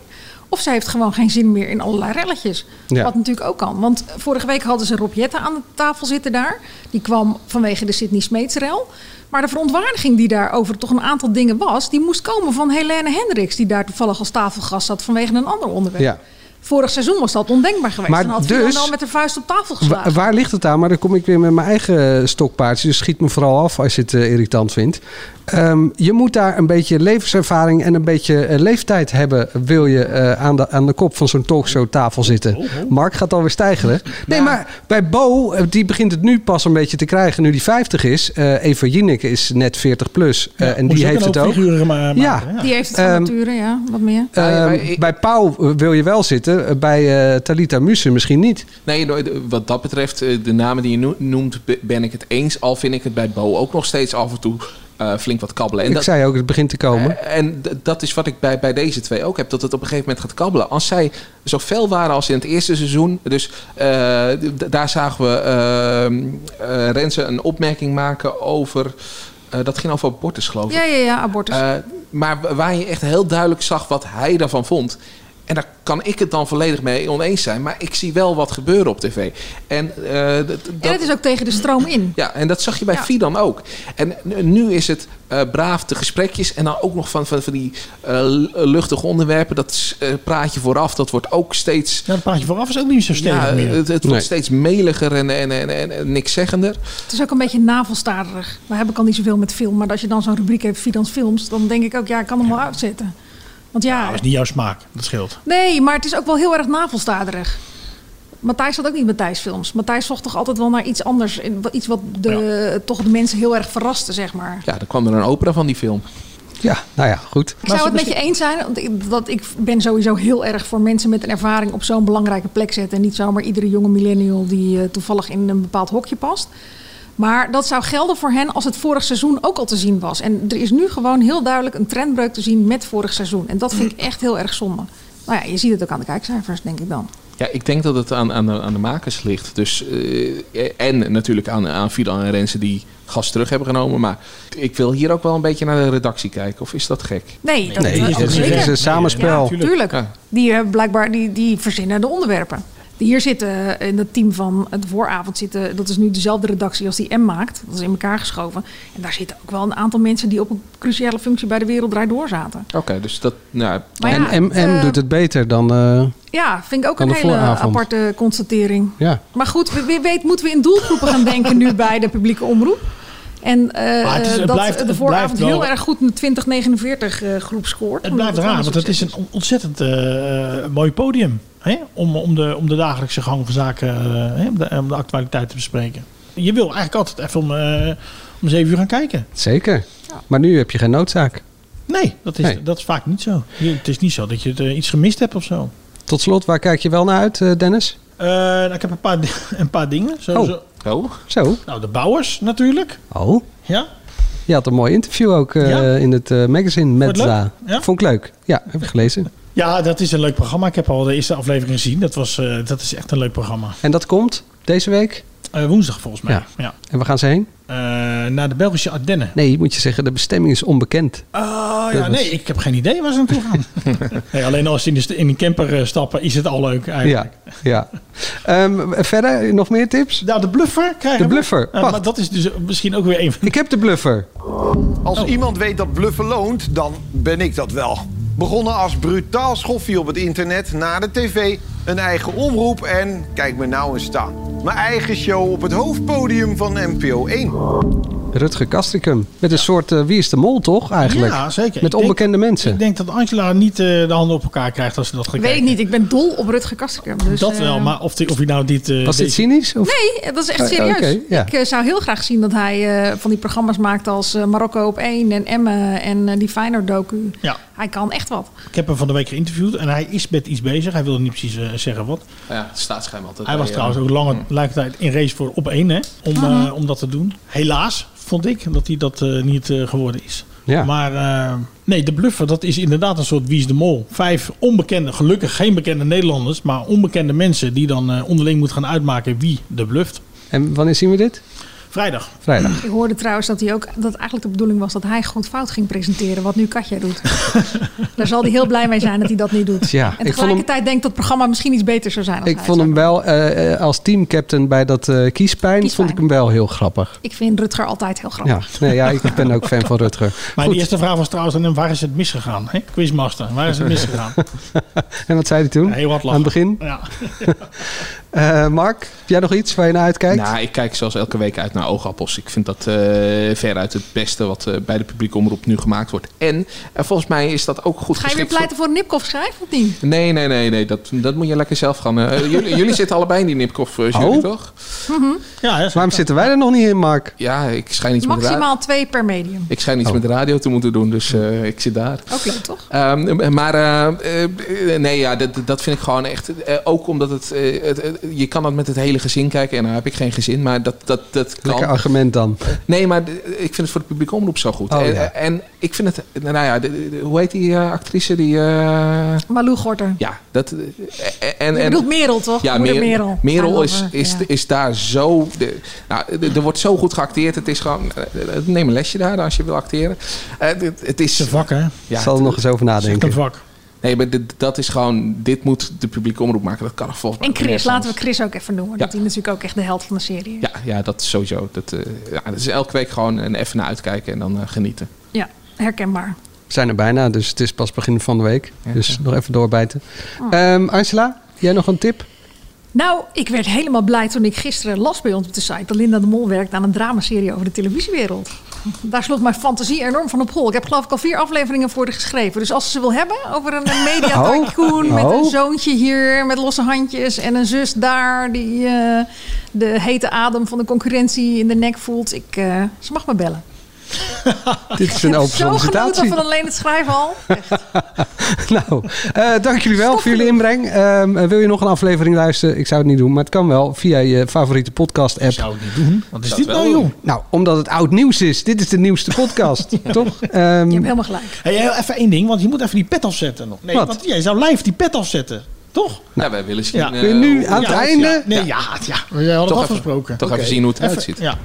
[SPEAKER 11] Of ze heeft gewoon geen zin meer in allerlei relletjes.
[SPEAKER 18] Ja.
[SPEAKER 11] Wat natuurlijk ook kan. Want vorige week hadden ze Rob Jette aan de tafel zitten daar. Die kwam vanwege de Sydney Smeetsrel. Maar de verontwaardiging die daarover toch een aantal dingen was... die moest komen van Helene Hendricks... die daar toevallig als tafelgast zat vanwege een ander onderwerp.
[SPEAKER 8] Ja.
[SPEAKER 11] Vorig seizoen was dat ondenkbaar geweest.
[SPEAKER 8] Maar
[SPEAKER 11] Dan had
[SPEAKER 8] dus-
[SPEAKER 11] Fidan al met de vuist op tafel
[SPEAKER 8] Wa-
[SPEAKER 11] geslagen.
[SPEAKER 8] Waar, ligt het aan? Maar dan kom ik weer met mijn eigen eh, stokpaardje. Dus schiet me vooral af als je het eh, irritant vindt. Ehm, je moet daar een beetje levenservaring en een beetje eh, leeftijd hebben. Wil je eh, aan, de, aan de kop van zo'n talkshowtafel zitten.
[SPEAKER 7] Oh,
[SPEAKER 8] Mark gaat alweer stijgeren. Nee, maar bij Bo, eh, die begint het nu pas een beetje te krijgen. Nu die 50 is. Eh, Eva Jinek is net 40 plus. eh, en
[SPEAKER 7] Moest
[SPEAKER 8] die
[SPEAKER 7] ook
[SPEAKER 8] heeft
[SPEAKER 7] een
[SPEAKER 8] het
[SPEAKER 7] hoop
[SPEAKER 8] ook.
[SPEAKER 7] figuren ma- maken,
[SPEAKER 8] Ja.
[SPEAKER 7] hè?
[SPEAKER 11] Die heeft het van
[SPEAKER 8] Ehm,
[SPEAKER 11] nature, ja. Wat meer.
[SPEAKER 8] Ehm, bij Pauw eh, wil je wel zitten. eh, Bij eh, Talita Muse misschien niet.
[SPEAKER 12] Nee, no- de- wat dat betreft, eh, de namen die je no- noemt, be- ben ik het eens. Al vind ik het bij Bo ook nog steeds af en toe eh, flink wat kabbelen. En
[SPEAKER 8] ik
[SPEAKER 12] dat-
[SPEAKER 8] zei ook, het begint te komen.
[SPEAKER 11] Eh,
[SPEAKER 12] Eh, En d- dat is wat ik bij, bij deze twee ook heb. Dat het op een gegeven moment gaat kabbelen. Als zij zo fel waren als in het eerste seizoen. Dus eh, d- daar zagen we eh, eh, Renze een opmerking maken over... eh, dat ging over abortus, geloof ik.
[SPEAKER 11] Ja, ja, ja, abortus.
[SPEAKER 12] Eh, maar wa- waar je echt heel duidelijk zag wat hij daarvan vond. En daar kan ik het dan volledig mee oneens zijn. Maar ik zie wel wat gebeuren op tv. En, eh, d- d-
[SPEAKER 11] en
[SPEAKER 12] dat-
[SPEAKER 11] het is ook tegen de stroom in.
[SPEAKER 12] ja, en dat zag je bij Fidan ook. En nu- nu is het eh, braaf de gesprekjes en dan ook nog van, van, van die eh, luchtige onderwerpen. Dat is, eh, praatje vooraf, dat wordt ook steeds...
[SPEAKER 7] Ja, dat praatje vooraf is ook niet zo stevig
[SPEAKER 12] Ja, het,
[SPEAKER 7] meer.
[SPEAKER 11] eh,
[SPEAKER 12] het wordt
[SPEAKER 7] Nee.
[SPEAKER 12] steeds meliger en, en, en, en, en nikszeggender.
[SPEAKER 11] Het is ook een beetje navelstaarderig. Daar heb ik al niet zoveel met film. Maar als je dan zo'n rubriek hebt, Fidans Films, dan denk ik ook, ja, ik kan hem wel uitzetten. Want ja,
[SPEAKER 7] Dat Nou, is niet jouw smaak, dat scheelt.
[SPEAKER 11] nee, maar het is ook wel heel erg navelstaarderig. Matthijs had ook niet Matthijs Films. Matthijs zocht toch altijd wel naar iets anders. in- Iets wat de, toch de mensen heel erg verraste, zeg maar.
[SPEAKER 12] Ja, dan kwam er een opera van die film.
[SPEAKER 8] Ja, nou ja, goed.
[SPEAKER 11] Ik zou het met je eens zijn, want ik, dat, ik ben sowieso heel erg voor mensen met een ervaring op zo'n belangrijke plek zetten. En niet zomaar iedere jonge millennial die eh, toevallig in een bepaald hokje past. Maar dat zou gelden voor hen als het vorig seizoen ook al te zien was. En er is nu gewoon heel duidelijk een trendbreuk te zien met vorig seizoen. En dat vind ik echt heel erg zonde. Nou ja, je ziet het ook aan de kijkcijfers, denk ik dan.
[SPEAKER 12] Ja, ik denk dat het aan, aan, de, aan de makers ligt. Dus, eh, en natuurlijk aan, aan Fidan en Rensen die gas terug hebben genomen. Maar ik wil hier ook wel een beetje naar de redactie kijken. Of is dat gek?
[SPEAKER 11] Nee, dat
[SPEAKER 8] Nee,
[SPEAKER 11] dat
[SPEAKER 8] is
[SPEAKER 11] ook
[SPEAKER 8] een-
[SPEAKER 11] zeker.
[SPEAKER 8] is een samenspel.
[SPEAKER 11] Ja, tuurlijk.
[SPEAKER 12] Ja.
[SPEAKER 11] Die, eh, blijkbaar, die, die verzinnen de onderwerpen. Hier zitten in het team van het vooravond zitten, dat is nu dezelfde redactie als die M maakt. Dat is in elkaar geschoven. En daar zitten ook wel een aantal mensen die op een cruciale functie bij de wereld draait door zaten.
[SPEAKER 12] Oké, dus dat... Nou,
[SPEAKER 11] Maar ja,
[SPEAKER 8] en MM
[SPEAKER 11] eh,
[SPEAKER 8] doet het beter dan... eh,
[SPEAKER 11] Ja, vind ik ook
[SPEAKER 8] Van
[SPEAKER 11] een
[SPEAKER 8] de
[SPEAKER 11] hele
[SPEAKER 8] vooravond.
[SPEAKER 11] aparte constatering.
[SPEAKER 8] ja.
[SPEAKER 11] Maar goed, wie- wie weet moeten we in doelgroepen gaan denken nu bij de publieke omroep. En eh,
[SPEAKER 7] Maar het is- het
[SPEAKER 11] dat
[SPEAKER 7] blijft-
[SPEAKER 11] de
[SPEAKER 7] het
[SPEAKER 11] vooravond
[SPEAKER 7] blijft wel-
[SPEAKER 11] heel erg goed een 2049 eh, groep scoort.
[SPEAKER 7] Het blijft raar, want het is een on- ontzettend eh, mooi podium. Hè? Om, om, de, om de dagelijkse gang van zaken, eh, hè? Om, de, om de actualiteit te bespreken. Je wil eigenlijk altijd even om, eh om 7 uur gaan kijken.
[SPEAKER 8] Zeker. Maar nu heb je geen noodzaak.
[SPEAKER 7] Nee, dat is,
[SPEAKER 8] Nee.
[SPEAKER 7] dat is vaak niet zo. Je- Het is niet zo dat je het, eh, iets gemist hebt of zo.
[SPEAKER 8] Tot slot, waar kijk je wel naar uit, eh, Dennis?
[SPEAKER 7] Eh, nou, ik heb een paar, di- een paar dingen. Zo,
[SPEAKER 8] Oh.
[SPEAKER 7] zo.
[SPEAKER 8] Zo.
[SPEAKER 7] Nou, de bouwers natuurlijk.
[SPEAKER 8] Oh.
[SPEAKER 7] Ja?
[SPEAKER 8] Je had een mooi interview ook eh,
[SPEAKER 7] Ja?
[SPEAKER 8] in het eh, magazine met
[SPEAKER 7] het leuk?
[SPEAKER 8] Za.
[SPEAKER 7] Ja?
[SPEAKER 8] Vond ik leuk. Ja, heb ik gelezen.
[SPEAKER 7] Ja, dat is een leuk programma. Ik heb al de eerste aflevering gezien. Dat, was, eh, dat is echt een leuk programma.
[SPEAKER 8] En dat komt deze week?
[SPEAKER 7] Eh, woensdag volgens mij. Ja.
[SPEAKER 8] En waar gaan ze heen?
[SPEAKER 7] Eh, naar de Belgische Ardennen.
[SPEAKER 8] Nee, moet je zeggen, de bestemming is onbekend.
[SPEAKER 7] Oh
[SPEAKER 8] Dat
[SPEAKER 7] ja,
[SPEAKER 8] was-
[SPEAKER 7] nee, ik heb geen idee waar ze naartoe gaan. nee, alleen als ze in, de, st- in een camper eh, stappen, is het al leuk eigenlijk.
[SPEAKER 8] Ja, ja. Ehm, verder, nog meer tips?
[SPEAKER 7] Nou, de bluffer krijgen
[SPEAKER 8] De bluffer,
[SPEAKER 7] Eh, maar
[SPEAKER 8] wacht.
[SPEAKER 7] dat is dus misschien ook weer een van
[SPEAKER 8] Ik heb de bluffer.
[SPEAKER 18] Als
[SPEAKER 8] Oh.
[SPEAKER 18] iemand weet dat bluffen loont, dan ben ik dat wel. Begonnen als brutaal schoffie op het internet, na de tv, een eigen omroep en kijk me nou eens staan. Mijn eigen show op het hoofdpodium van NPO 1.
[SPEAKER 8] Rutger Castricum. Met een soort eh, Wie is de Mol, toch? Eigenlijk.
[SPEAKER 7] Ja, zeker. Ik
[SPEAKER 8] Met
[SPEAKER 7] denk-
[SPEAKER 8] onbekende mensen.
[SPEAKER 7] Ik denk dat Angela niet eh, de handen op elkaar krijgt als ze dat gaat
[SPEAKER 11] Weet ik niet, ik ben dol op Rutger Kastrikum. Dus,
[SPEAKER 7] dat wel,
[SPEAKER 11] eh,
[SPEAKER 7] maar of, die, of hij nou dit... eh,
[SPEAKER 8] Was dit
[SPEAKER 7] deze-
[SPEAKER 8] cynisch? Of?
[SPEAKER 11] Nee, dat is echt
[SPEAKER 8] Oh,
[SPEAKER 11] serieus.
[SPEAKER 8] oké, ja.
[SPEAKER 11] Ik eh, zou heel graag zien dat hij eh, van die programma's maakt als eh, Marokko op 1 en Emmen en eh, die Feyenoord docu.
[SPEAKER 7] Ja.
[SPEAKER 11] Hij kan echt wat.
[SPEAKER 7] Ik heb hem van de week geïnterviewd en hij is met iets bezig. Hij wil niet precies eh, zeggen wat.
[SPEAKER 12] Ja, het staat schijnbaar altijd.
[SPEAKER 7] Hij
[SPEAKER 12] bij,
[SPEAKER 7] was
[SPEAKER 12] eh,
[SPEAKER 7] trouwens ook lange lange tijd in race voor op één, hè? Om, eh,
[SPEAKER 12] Mhm.
[SPEAKER 7] om dat te doen. Helaas vond ik dat hij dat eh, niet eh, geworden is.
[SPEAKER 8] Ja.
[SPEAKER 7] Maar eh, nee, de bluffer, dat is inderdaad een soort wie is de mol. Vijf onbekende, gelukkig geen bekende Nederlanders, maar onbekende mensen die dan eh, onderling moeten gaan uitmaken wie de bluft.
[SPEAKER 8] En wanneer zien we dit?
[SPEAKER 7] Vrijdag.
[SPEAKER 8] Vrijdag.
[SPEAKER 11] Ik hoorde trouwens dat, hij ook, dat eigenlijk de bedoeling was dat hij goed fout ging presenteren, wat nu Katja doet. Daar zal hij heel blij mee zijn dat hij dat nu doet.
[SPEAKER 8] Ja, ik vond
[SPEAKER 11] en
[SPEAKER 8] hem-
[SPEAKER 11] tegelijkertijd denk ik dat het programma misschien iets beter zou zijn. Als
[SPEAKER 8] Ik
[SPEAKER 11] hij
[SPEAKER 8] vond
[SPEAKER 11] het
[SPEAKER 8] hem wel, eh, eh, als teamcaptain bij dat eh, kiespijn, vond ik hem wel heel grappig.
[SPEAKER 11] zou- Ik vind Rutger altijd heel grappig.
[SPEAKER 8] Ja, nee, ja, ik ben ook fan van Rutger.
[SPEAKER 7] Mijn
[SPEAKER 8] Goed.
[SPEAKER 7] eerste vraag was trouwens aan hem, waar is het misgegaan? Hè? Quizmaster, waar is het misgegaan?
[SPEAKER 8] En wat zei hij toen?
[SPEAKER 7] Heel wat lachen.
[SPEAKER 8] Aan het begin?
[SPEAKER 7] Ja.
[SPEAKER 8] Eh, Mark, heb jij nog iets waar je naar uitkijkt?
[SPEAKER 12] Nou, ik kijk zoals elke week uit naar oogappels. Ik vind dat eh, veruit het beste wat eh, bij de publieke omroep nu gemaakt wordt. En eh, volgens mij is dat ook goed
[SPEAKER 11] Ga je weer
[SPEAKER 12] geschikt
[SPEAKER 11] pleiten voor een Nipkoff schrijf of niet?
[SPEAKER 12] voor- Nee, nee, nee, nee. Dat, dat moet je lekker zelf gaan. eh, jullie, jullie zitten allebei in die Nipkoff eh, jury,
[SPEAKER 8] Oh.
[SPEAKER 12] toch?
[SPEAKER 8] Waarom zitten wij er nog niet in, Mark?
[SPEAKER 12] Ja, ik schijn iets, met, ra-
[SPEAKER 11] Maximaal twee per medium.
[SPEAKER 12] ik schijn iets
[SPEAKER 8] Oh.
[SPEAKER 12] met radio te moeten doen, dus eh, ik zit daar.
[SPEAKER 11] Ook leuk toch?
[SPEAKER 12] Ehm, maar eh, eh, nee, ja, dat, dat vind ik gewoon echt. eh, ook omdat het, eh, het- het- Je kan dat met het hele gezin kijken. En nou heb ik geen gezin, maar dat, dat, dat kan.
[SPEAKER 8] Lekker argument dan.
[SPEAKER 12] Nee, maar d- ik vind het voor de publieke omroep zo goed.
[SPEAKER 8] Oh,
[SPEAKER 12] en,
[SPEAKER 8] ja.
[SPEAKER 12] en ik vind het, nou ja, d- d- hoe heet die eh, actrice? Die, eh,
[SPEAKER 11] Malou Gorter.
[SPEAKER 12] ja, dat. eh, en,
[SPEAKER 11] Je
[SPEAKER 12] en,
[SPEAKER 11] bedoelt Merel, toch?
[SPEAKER 12] Ja,
[SPEAKER 11] Moeder
[SPEAKER 12] Mer- Merel.
[SPEAKER 11] Merel. I love
[SPEAKER 12] is,
[SPEAKER 11] her,
[SPEAKER 12] is,
[SPEAKER 11] ja.
[SPEAKER 12] is daar zo. De, nou, d- er wordt zo goed geacteerd. Het is gewoon. eh, Neem een lesje daar als je wil acteren. Eh, d- het is.
[SPEAKER 7] Een vak, hè?
[SPEAKER 12] Ja,
[SPEAKER 8] Zal er nog eens over
[SPEAKER 7] Echt
[SPEAKER 8] nadenken.
[SPEAKER 7] een vak.
[SPEAKER 12] Nee, maar dit- dat is gewoon. Dit moet de publieke omroep maken. Dat kan er volgens mij.
[SPEAKER 11] En Chris,
[SPEAKER 12] nergens
[SPEAKER 11] laten we Chris ook even noemen.
[SPEAKER 12] Ja.
[SPEAKER 11] Dat hij natuurlijk ook echt de held van de serie is.
[SPEAKER 12] anders. Ja, ja, dat is sowieso. Dat, eh, ja, dat is elke week gewoon een even naar uitkijken en dan eh, genieten.
[SPEAKER 11] Ja, herkenbaar.
[SPEAKER 8] We zijn er bijna, dus het is pas begin van de week. dus nog even doorbijten. Ehm, Angela, jij nog een tip?
[SPEAKER 11] Oh. Nou, ik werd helemaal blij toen ik gisteren las bij ons op de site... dat Linda de Mol werkt aan een dramaserie over de televisiewereld. Daar sloeg mijn fantasie enorm van op hol. Ik heb geloof ik al vier afleveringen voor haar geschreven. Dus als ze ze wil hebben over een media tycoon...
[SPEAKER 8] Oh.
[SPEAKER 11] met een
[SPEAKER 8] Oh.
[SPEAKER 11] zoontje hier, met losse handjes... en een zus daar die eh, de hete adem van de concurrentie in de nek voelt... Ik, eh, ze mag me bellen.
[SPEAKER 8] Dit is een open
[SPEAKER 11] Zo genoten
[SPEAKER 8] sollicitatie.
[SPEAKER 11] van alleen het schrijven al.
[SPEAKER 8] Nou, eh, dank jullie wel voor jullie inbreng. Ehm, eh, wil je nog een aflevering luisteren? Ik zou het niet doen, maar het kan wel via je favoriete podcast-app. Ik zou
[SPEAKER 7] het niet doen. Wat is dit nou, joh?
[SPEAKER 8] Nou, omdat het oud nieuws is. Dit is de nieuwste podcast, toch? Ehm,
[SPEAKER 11] helemaal gelijk.
[SPEAKER 7] Hey, heel even één ding, want je moet even die pet afzetten nog. Nee,
[SPEAKER 8] Wat?
[SPEAKER 7] want jij zou live die pet afzetten, toch?
[SPEAKER 12] Nou, wij willen zien. eh,
[SPEAKER 8] Kun je nu
[SPEAKER 12] hoe-
[SPEAKER 8] aan het
[SPEAKER 12] ja,
[SPEAKER 8] einde?
[SPEAKER 12] ja.
[SPEAKER 7] Nee, ja, het- ja. We hadden
[SPEAKER 12] Toch
[SPEAKER 7] het
[SPEAKER 12] even-
[SPEAKER 7] afgesproken.
[SPEAKER 12] toch
[SPEAKER 7] Oké.
[SPEAKER 12] even zien hoe het
[SPEAKER 7] Even-
[SPEAKER 12] eruit ziet.
[SPEAKER 7] Ja.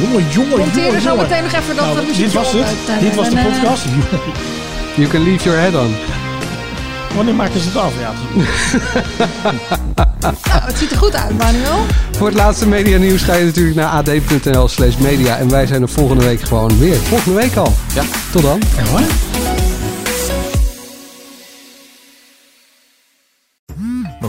[SPEAKER 7] Jongen, jongen,
[SPEAKER 11] Monteer
[SPEAKER 7] jongen,
[SPEAKER 11] er zo meteen nog even dat
[SPEAKER 7] Nou,
[SPEAKER 11] muziekje
[SPEAKER 7] Dit was
[SPEAKER 11] op.
[SPEAKER 7] het. Dit was de podcast.
[SPEAKER 8] You can leave your head on.
[SPEAKER 7] Wanneer maken ze het af? Ja, het is-
[SPEAKER 1] Nou, het ziet er goed uit, Manuel.
[SPEAKER 11] Voor het laatste media nieuws ga je natuurlijk naar ad.nl slash media. En wij zijn er volgende week gewoon weer. Volgende week al. Ja. Tot dan. Ja hoor.
[SPEAKER 8] We